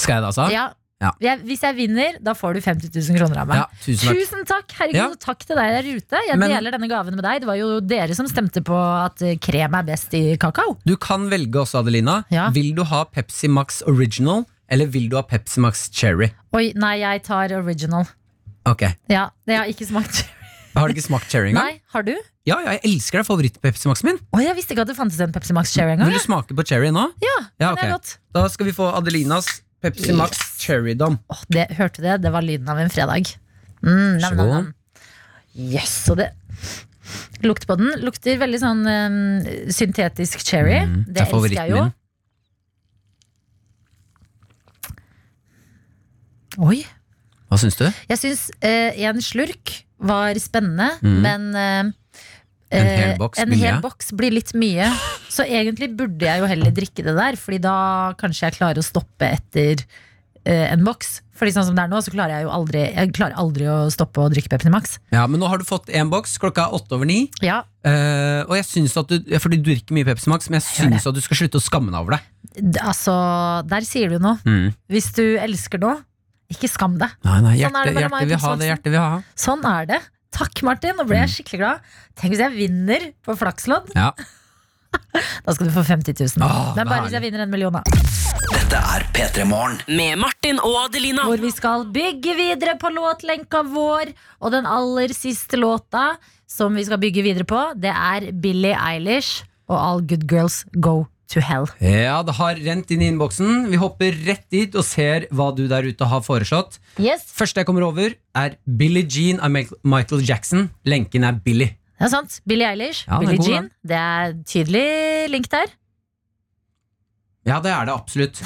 Skal jeg det, altså? Ja. Ja. Jeg, hvis jeg vinner, da får du 50 000 kroner av meg. Ja, tusen takk. Tusen takk! Herregud, Ja. og takk til deg der ute. Jeg Men- deler denne gaven med deg. Det var jo dere som stemte på at eh, krem er best i kakao. Du kan velge også, Adelina. Ja. Vil du ha Pepsi Max Original, eller vil du ha Pepsi Max Cherry? Oi, nei, jeg tar original. Ok, Ja, det har jeg ikke smakt. Har du ikke smakt cherry engang? Nei, har du? Ja, ja, jeg elsker deg favoritt-Pepsi Max min. Å, jeg visste ikke at det fantes en Pepsi Max Cherry engang. Vil du jeg. smake på cherry nå? Ja, Ja, den er ok. godt. Da skal vi få Adelinas Pepsi Max Cherrydom. Åh, det, hørte du det? Det var lyden av en fredag. Mm, nam, nam, god. nam. Yes, og det Lukt på den. Lukter veldig sånn eh, syntetisk cherry. det Mm, er elsker jeg jo. favoritten Oi. Hva syns du? Jeg syns eh, en slurk var spennende, men eh, Mm. En hel eh, boks en blir hel mye. boks blir litt mye. Så egentlig burde jeg jo heller drikke det der, Fordi da kanskje jeg klarer å stoppe etter eh, en boks. Fordi sånn som det er nå, så klarer jeg jo aldri Jeg klarer aldri å stoppe å drikke Pepsi Max. Ja, men Nå har du fått én boks. Klokka er åtte over ni. Ja, Eh, og jeg synes at du, ja, fordi du drikker mye Pepsi Max, men jeg gjør syns at du skal slutte å skamme deg over det. d- altså, der sier du noe. Hvis du elsker noe, ikke skam deg. Mm. Nei, nei, Sånn hjerte, er det mellom hjerte vil ha meg og Knut det Svendsen. hjertet vil ha. Sånn er det. Takk, Martin. Nå ble Mm. jeg skikkelig glad. Tenk hvis jeg vinner på flakslodd. Ja. Da skal du få 50 000. Åh, det er bare herlig. hvis jeg vinner en million, da. Med Martin og Adelina. Hvor vi skal bygge videre på låtlenka vår. Og den aller siste låta som vi skal bygge videre på, det er Billie Eilish og All Good Girls Go To Hell. ja, det har rent inn i innboksen. Vi hopper rett dit og ser hva du der ute har foreslått. Yes, Første jeg kommer over, er Billie Jean av Michael- Michael Jackson. Lenken er Billie. det er sant. Billie Eilish, Ja, den er Billie god, Jean. Det er tydelig link der. Ja, det er det absolutt.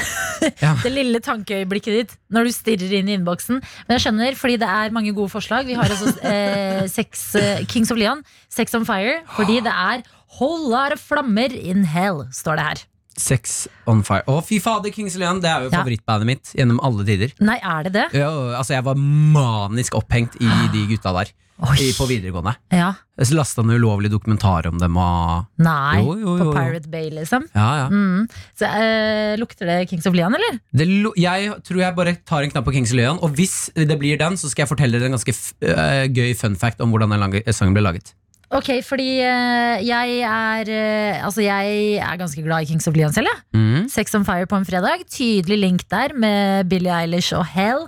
Det lille tankeøyeblikket ditt når du stirrer inn i innboksen. Men jeg skjønner, fordi det er mange gode forslag. Vi har også eh, sex, eh, Kings of Leon, Sex on Fire, fordi det er Whole lot of flammer in hell, står det her. Sex on fire. Å, fy fader, Kings Leon. Det er jo Ja. favorittbandet mitt gjennom alle tider. Nei, er det det? Ja, altså, jeg var manisk opphengt i de gutta der i, på videregående. Ja. Så lasta han ulovlig dokumentar om dem og Nei, Jo, jo, jo, jo. på Pirate Bay, liksom. Ja, ja. Mm. Så, eh, lukter det Kings of Leon, eller? Det, lo- jeg tror jeg bare tar en knapp på Kings Leon, og hvis det blir den, så skal jeg fortelle dere en ganske f øh, gøy fun fact om hvordan den lang- sangen ble laget. Ok, fordi eh, jeg er eh, Altså, jeg er ganske glad i Kings of Leon selv, jeg. Sex on Fire på en fredag. Tydelig link der med Billie Eilish og Hell.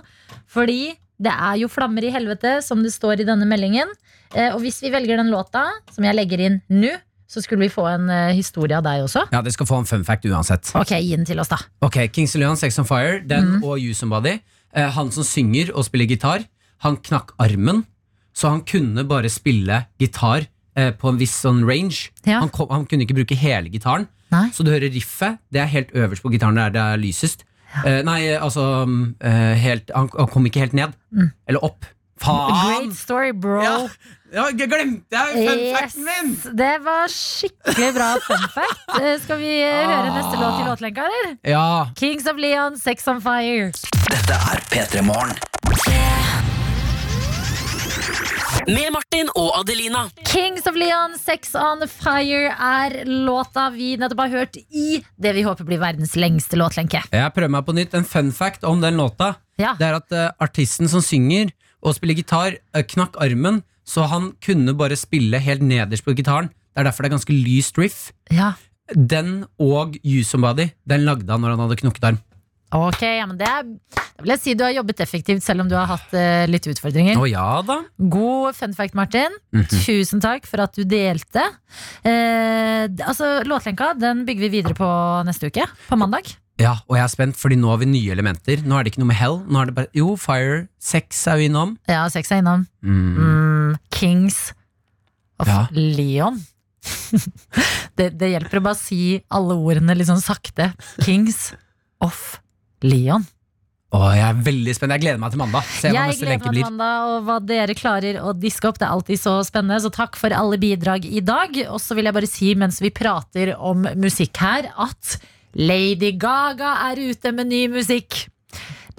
Fordi det er jo flammer i helvete, som det står i denne meldingen. Eh, og hvis vi velger den låta, som jeg legger inn nå, så skulle vi få en eh, historie av deg også. Ja, Dere skal få en fun fact uansett. Ok, gi den til oss, da. Ok, Kings Leon, Sex on Fire, den og You Somebody. Eh, han som synger og spiller gitar, han knakk armen, så han kunne bare spille gitar eh, på en viss sånn range. Ja. Han, kom, han kunne ikke bruke hele gitaren. Nei. Så du hører riffet, det er helt øverst på gitaren der det er lysest. Eh, nei, altså mm, eh, helt, han, han kom ikke helt ned. Eller opp. Faen! Great story, bro. Ja, ja, g- glemte jeg fun Yes, facten min! det var skikkelig bra fun fact. Eh, Skal vi eh, Ah. høre neste låt i låtlenka, eller? Ja, Kings of Leon, Sex on Fire. Med Martin og Adelina. Kings of Leon, Sex on Fire er låta vi nettopp har hørt i det vi håper blir verdens lengste låtlenke. Jeg prøver meg på nytt. En fun fact om den låta Ja. Det er at eh, artisten som synger og spiller gitar, eh, knakk armen, så han kunne bare spille helt nederst på gitaren. Det er derfor det er ganske lyst riff. Ja. Den og You Somebody Den lagde han når han hadde knukket arm. Ok, ja, men det er, Da vil jeg si du har jobbet effektivt, selv om du har hatt eh, litt utfordringer. Å ja da God fun fact, Martin. Mm. Tusen takk for at du delte. Eh, d- altså, Låtlenka den bygger vi videre på neste uke. På mandag. Ja, Og jeg er spent, fordi nå har vi nye elementer. Nå er det ikke noe med hell. Nå er det bare, Jo, fire, sex er vi innom. Ja, sex er innom. Mm. Mm, Kings of Ja. Leon. det, det hjelper å bare si alle ordene litt sånn sakte. Kings of Leon. Å, jeg er veldig spent. Jeg gleder meg til mandag. Se hva jeg neste gleder meg lenke til blir. mandag og hva dere klarer å diske opp. Det er alltid så spennende, så takk for alle bidrag i dag. Og så vil jeg bare si mens vi prater om musikk her, at Lady Gaga er ute med ny musikk.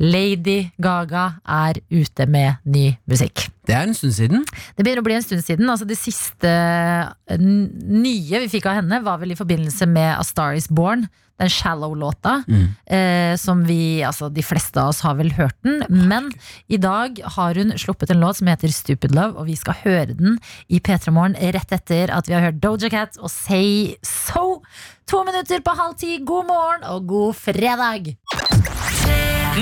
Lady Gaga er ute med ny musikk. Det er en stund siden. Det begynner å bli en stund siden. Altså det siste eh, n- nye vi fikk av henne, var vel i forbindelse med A Star Is Born. Den Shallow-låta. Eh, som vi, altså De fleste av oss har vel hørt den. Men i dag har hun sluppet en låt som heter Stupid Love, og vi skal høre den i P3 Morgen rett etter at vi har hørt Doja Cat og Say So. To minutter på halv ti. God morgen og god fredag!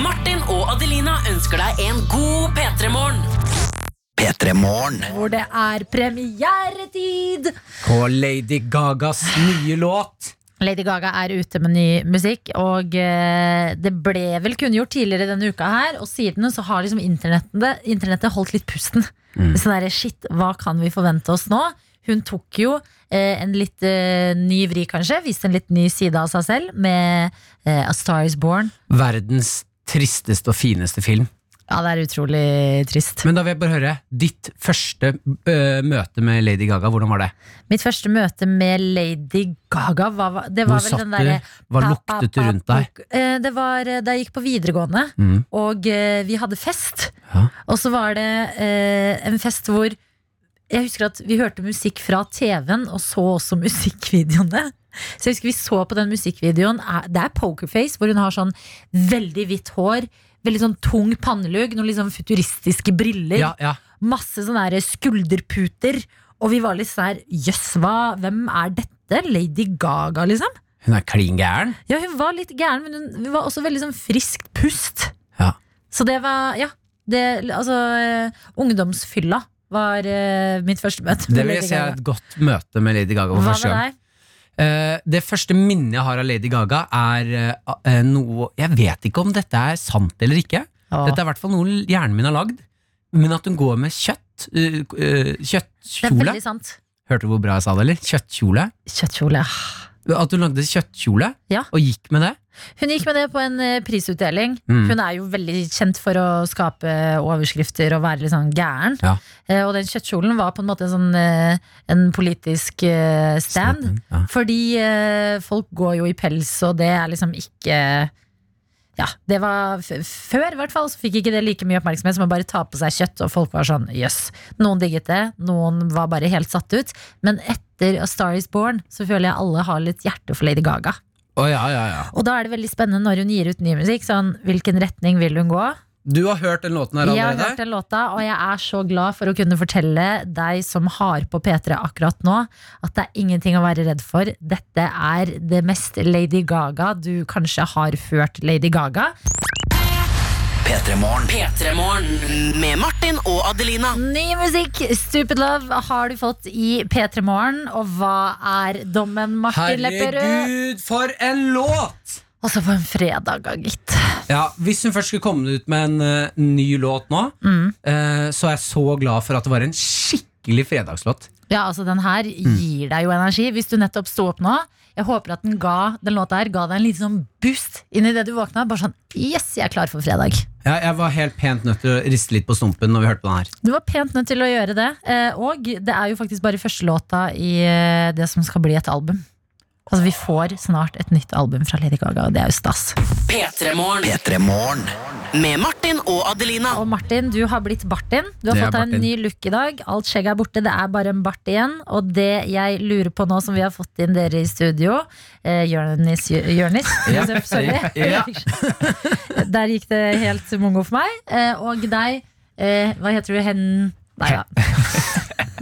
Martin og Adelina ønsker deg en god P3-morgen. Hvor det er premieretid! På Lady Gagas nye låt. Lady Gaga er ute med ny musikk, og eh, det ble vel kunngjort tidligere denne uka her, og siden så har liksom internettet, internettet holdt litt pusten. Mm. Sånn der, shit, hva kan vi forvente oss nå? Hun tok jo eh, en litt eh, ny vri, kanskje, viste en litt ny side av seg selv med eh, A Star Is Born. Verdens tristeste og fineste film. Ja, det er utrolig trist. Men da vil jeg bare høre ditt første øh, møte med Lady Gaga. Hvordan var det? Mitt første møte med Lady Gaga, hva, var- det var Hvor vel satt den derre du? Hva luktet du rundt deg? Eh, Det var eh, da jeg gikk på videregående, Mm. og eh, vi hadde fest. Ja. Og så var det eh, en fest hvor jeg husker at vi hørte musikk fra TV-en, og så også musikkvideoene. Så jeg husker vi så på den musikkvideoen. er- Det er Pokerface, hvor hun har sånn veldig hvitt hår, veldig sånn tung pannelugg, noen litt sånn futuristiske briller, Ja, ja. masse sånne her skulderputer, og vi var litt sånn her, jøss, hva, hvem er dette? Lady Gaga, liksom? Hun er klin gæren. Ja, hun var litt gæren, men hun, hun var også veldig sånn friskt pust. Ja. Så det var, ja det, Altså, eh, ungdomsfylla var eh, mitt første møte. med Det vil jeg Lady si er Gaga. et godt møte med Lady Gaga. for Hva første gang. med deg? Eh, det første minnet jeg har av Lady Gaga, er eh, eh, noe Jeg vet ikke om dette er sant eller ikke. Ja. Dette er i hvert fall noe hjernen min har lagd. Men at hun går med kjøtt eh, eh, Det er Kjøttkjole. veldig sant. Hørte du hvor bra jeg sa det, eller? Kjøttkjole. Kjøttkjole. At hun lagde kjøttkjole Ja. og gikk med det. Hun gikk med det på en eh, prisutdeling. Mm. Hun er jo veldig kjent for å skape overskrifter og være litt sånn gæren. Ja. Eh, Og den kjøttkjolen var på en måte en sånn eh, en politisk eh, stand. Ja. Fordi eh, folk går jo i pels, og det er liksom ikke Ja, det var f Før i hvert fall så fikk ikke det like mye oppmerksomhet som å bare ta på seg kjøtt, og folk var sånn jøss. Noen digget det, noen var bare helt satt ut. Men etter A Star Is Born så føler jeg alle har litt hjerte for Lady Gaga. Å, ja, ja, ja. Og da er det veldig spennende når hun gir ut ny musikk. Sånn, hvilken retning vil hun gå? Du har hørt den låten her Jeg har hørt allerede? den låta, og jeg er så glad for å kunne fortelle deg som har på P3 akkurat nå, at det er ingenting å være redd for. Dette er det mest Lady Gaga du kanskje har hørt Lady Gaga. P3-morgen med Martin og Adelina. Ny musikk, Stupid Love, har du fått i P3 Morgen. Og hva er dommen, Martin Lepperød? Herregud, for en låt! Også på en fredag, da, gitt. Ja, Hvis hun først skulle komme ut med en eh, ny låt nå, eh, så er jeg så glad for at det var en skikkelig fredagslåt. Ja, altså den her gir deg jo energi Hvis du nettopp sto opp nå Jeg håper at den ga den låta her Ga deg en liten sånn boost inn i det du våkna. Bare sånn Yes, jeg er klar for fredag. Ja, jeg var helt pent nødt til å riste litt på stumpen når vi hørte på den her. Du var pent nødt til å gjøre det. eh, Og det er jo faktisk bare første låta i eh, det som skal bli et album. Altså Vi får snart et nytt album fra Lady Gaga, og det er jo stas. P3-morgen. Med Martin og Adelina. Og Martin, du har blitt Bartin. Du har Jeg er fått deg en Bartin. ny look i dag. Alt skjegget er borte, det er bare en bart igjen. Og det jeg lurer på nå som vi har fått inn dere i studio eh, Jørnis, Jørnis Ja. Josef, sorry. Ja. Der gikk det helt mongo for meg. Eh, og deg, eh, hva heter du? Hen... Nei da.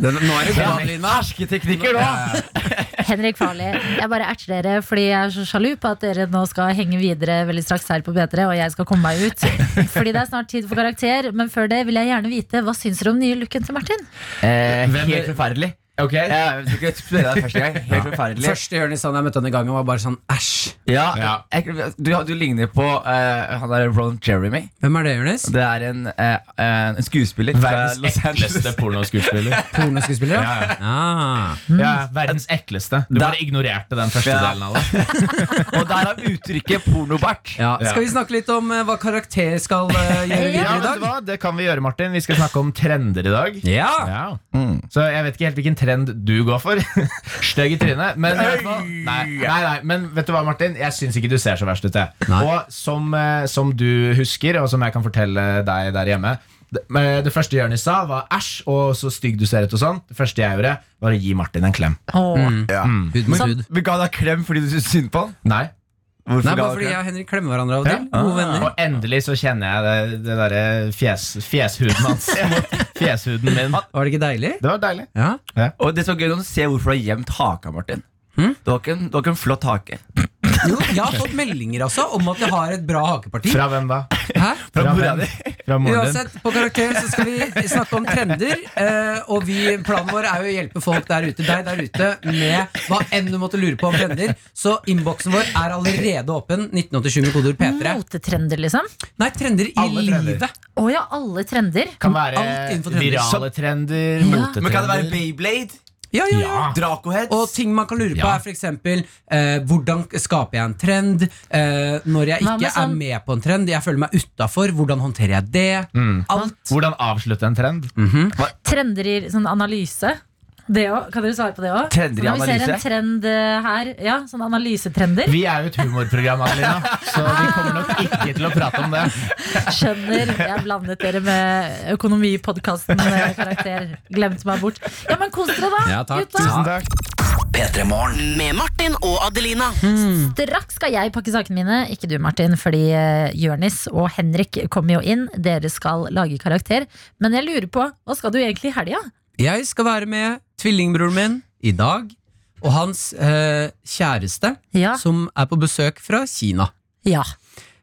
nå er det bra, Hersketeknikker nå! Henrik Farli, jeg bare erter dere fordi jeg er så sjalu på at dere nå skal henge videre veldig straks her på P3, og jeg skal komme meg ut. Fordi det er snart tid for karakter, men før det vil jeg gjerne vite hva syns dere om den nye looken til Martin? Eh, helt forferdelig. Jeg vet ikke, jeg spør deg første gang. Helt forferdelig. Første Jonis han jeg møtte han i gangen, var bare sånn æsj. Ja, jeg, du, du ligner på eh, han der Ron Jeremy. Hvem er det, Jonis? Det er en, eh, eh, en skuespiller Verdens ekleste pornoskuespiller. Pornoskuespiller? Ja, ja. Ah. ja, verdens ekleste. Du Da- bare ignorerte den første Ja. delen av det. Og der har vi uttrykket pornobart. Ja. Ja. Skal vi snakke litt om eh, hva karakter skal eh, gjøre Ja, videre i vet du dag? hva? Det kan vi gjøre, Martin. Vi skal snakke om trender i dag. Ja! Ja. Mm. Så jeg vet ikke helt hvilken trend du går for. Stygg i trynet. Men, i hvert fall- nei, nei, nei, men vet du hva, Martin? Jeg syns ikke du ser så verst ut. jeg. Nei. Og som, eh, som du husker, og som jeg kan fortelle deg der hjemme det, men eh, det første Jonis sa, var 'æsj' og 'så stygg du ser ut'. og sånn Det første jeg gjorde, var å gi Martin en klem. Hud mot hud. Vi ga deg klem fordi du syntes synd på han. Nei Hvorfor Nei, ga bare du fordi klem? jeg og Henrik klemmer hverandre av og Ja. til. Gode venner. Og endelig så kjenner jeg det, det derre fjes, fjeshuden hans mot fjeshuden min. Var det ikke deilig? Det var deilig. Ja. Og det er så gøy når du ser hvorfor du har gjemt haka, Martin. Hm? Du har ikke en, du har ikke en flott hake. Jo, jeg har fått meldinger altså om at jeg har et bra hakeparti. Fra hvem da? Hæ? Fra, mora hvem? di. Fra moren din? Uansett, på Karakter så skal vi snakke om trender. eh, Og vi, planen vår er jo å hjelpe folk der ute, deg der ute med hva enn du måtte lure på om trender. Så innboksen vår er allerede åpen. 1987 med kodeord P3. Motetrender, liksom? Nei, trender i Alle trender. livet. Å ja, alle trender. Kan alt være innenfor trender. virale trender, Men kan det være motetrender Bayblade? Ja, ja, ja. Ja. Dracoheads? Og ting man kan lure på, Ja. er f.eks.: eh, Hvordan skaper jeg en trend? Eh, når jeg Hva med ikke er sånn- med på en trend, jeg føler meg utafor, hvordan håndterer jeg det? Alt. Hvordan avslutte en trend? Trender i sånn analyse. Det også. Kan dere svare på det òg? Trender i Når vi ser en analyse? trend eh, her, ja, sånn analysetrender, Vi er jo et humorprogram, Adelina, så vi kommer nok ikke til å prate om det. skjønner Jeg blandet dere med økonomipodkasten eh, karakter. Glemte meg bort. Ja, men kos dere, da, Ja, takk. gutta. Med Martin og Adelina. Mm. Mm. Straks skal jeg pakke sakene mine, ikke du Martin, fordi eh, Jørnis og Henrik kommer jo inn. Dere skal lage karakter. Men jeg lurer på, hva skal du egentlig i helga? Jeg skal være med tvillingbroren min i dag, og hans eh, kjæreste, Ja. som er på besøk fra Kina. ja.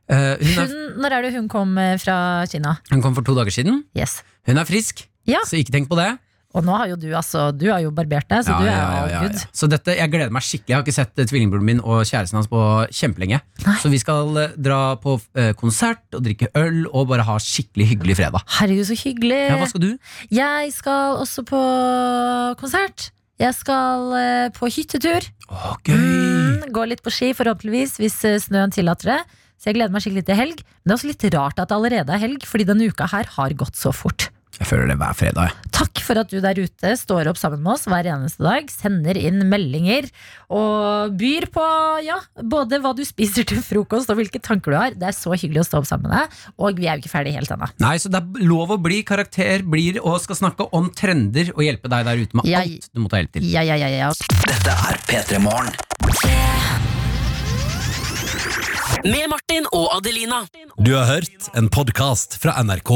Eh, hun, er, Hun, når er det hun kom eh, fra Kina? hun kom for to dager siden. Yes. Hun er frisk, Ja. så ikke tenk på det. Og nå har jo du altså, du har jo barbert deg, så Ja, du er ja, jo ja, ja, good. ja. Så dette, Jeg gleder meg skikkelig. Jeg har ikke sett eh, tvillingbroren min og kjæresten hans på eh, kjempelenge. Så vi skal eh, dra på eh, konsert og drikke øl og bare ha skikkelig hyggelig fredag. Herregud, så hyggelig. Ja, Hva skal du? Jeg skal også på konsert. Jeg skal eh, på hyttetur. Å, gøy! Mm, Gå litt på ski, forhåpentligvis, hvis eh, snøen tillater det. Så jeg gleder meg skikkelig til helg. Men det er også litt rart at det allerede er helg, fordi denne uka her har gått så fort. Jeg føler det hver fredag. jeg. Takk for at du der ute står opp sammen med oss hver eneste dag, sender inn meldinger og byr på ja, både hva du spiser til frokost og hvilke tanker du har. Det er så hyggelig å stå opp sammen med deg, og vi er jo ikke ferdig helt ennå. Nei, så Det er lov å bli karakter, blir og skal snakke om trender og hjelpe deg der ute med Jeg- alt du måtte ha hjelp til. Ja, ja, ja, ja. ja. Med Martin og Adelina. Du har hørt en podcast fra NRK.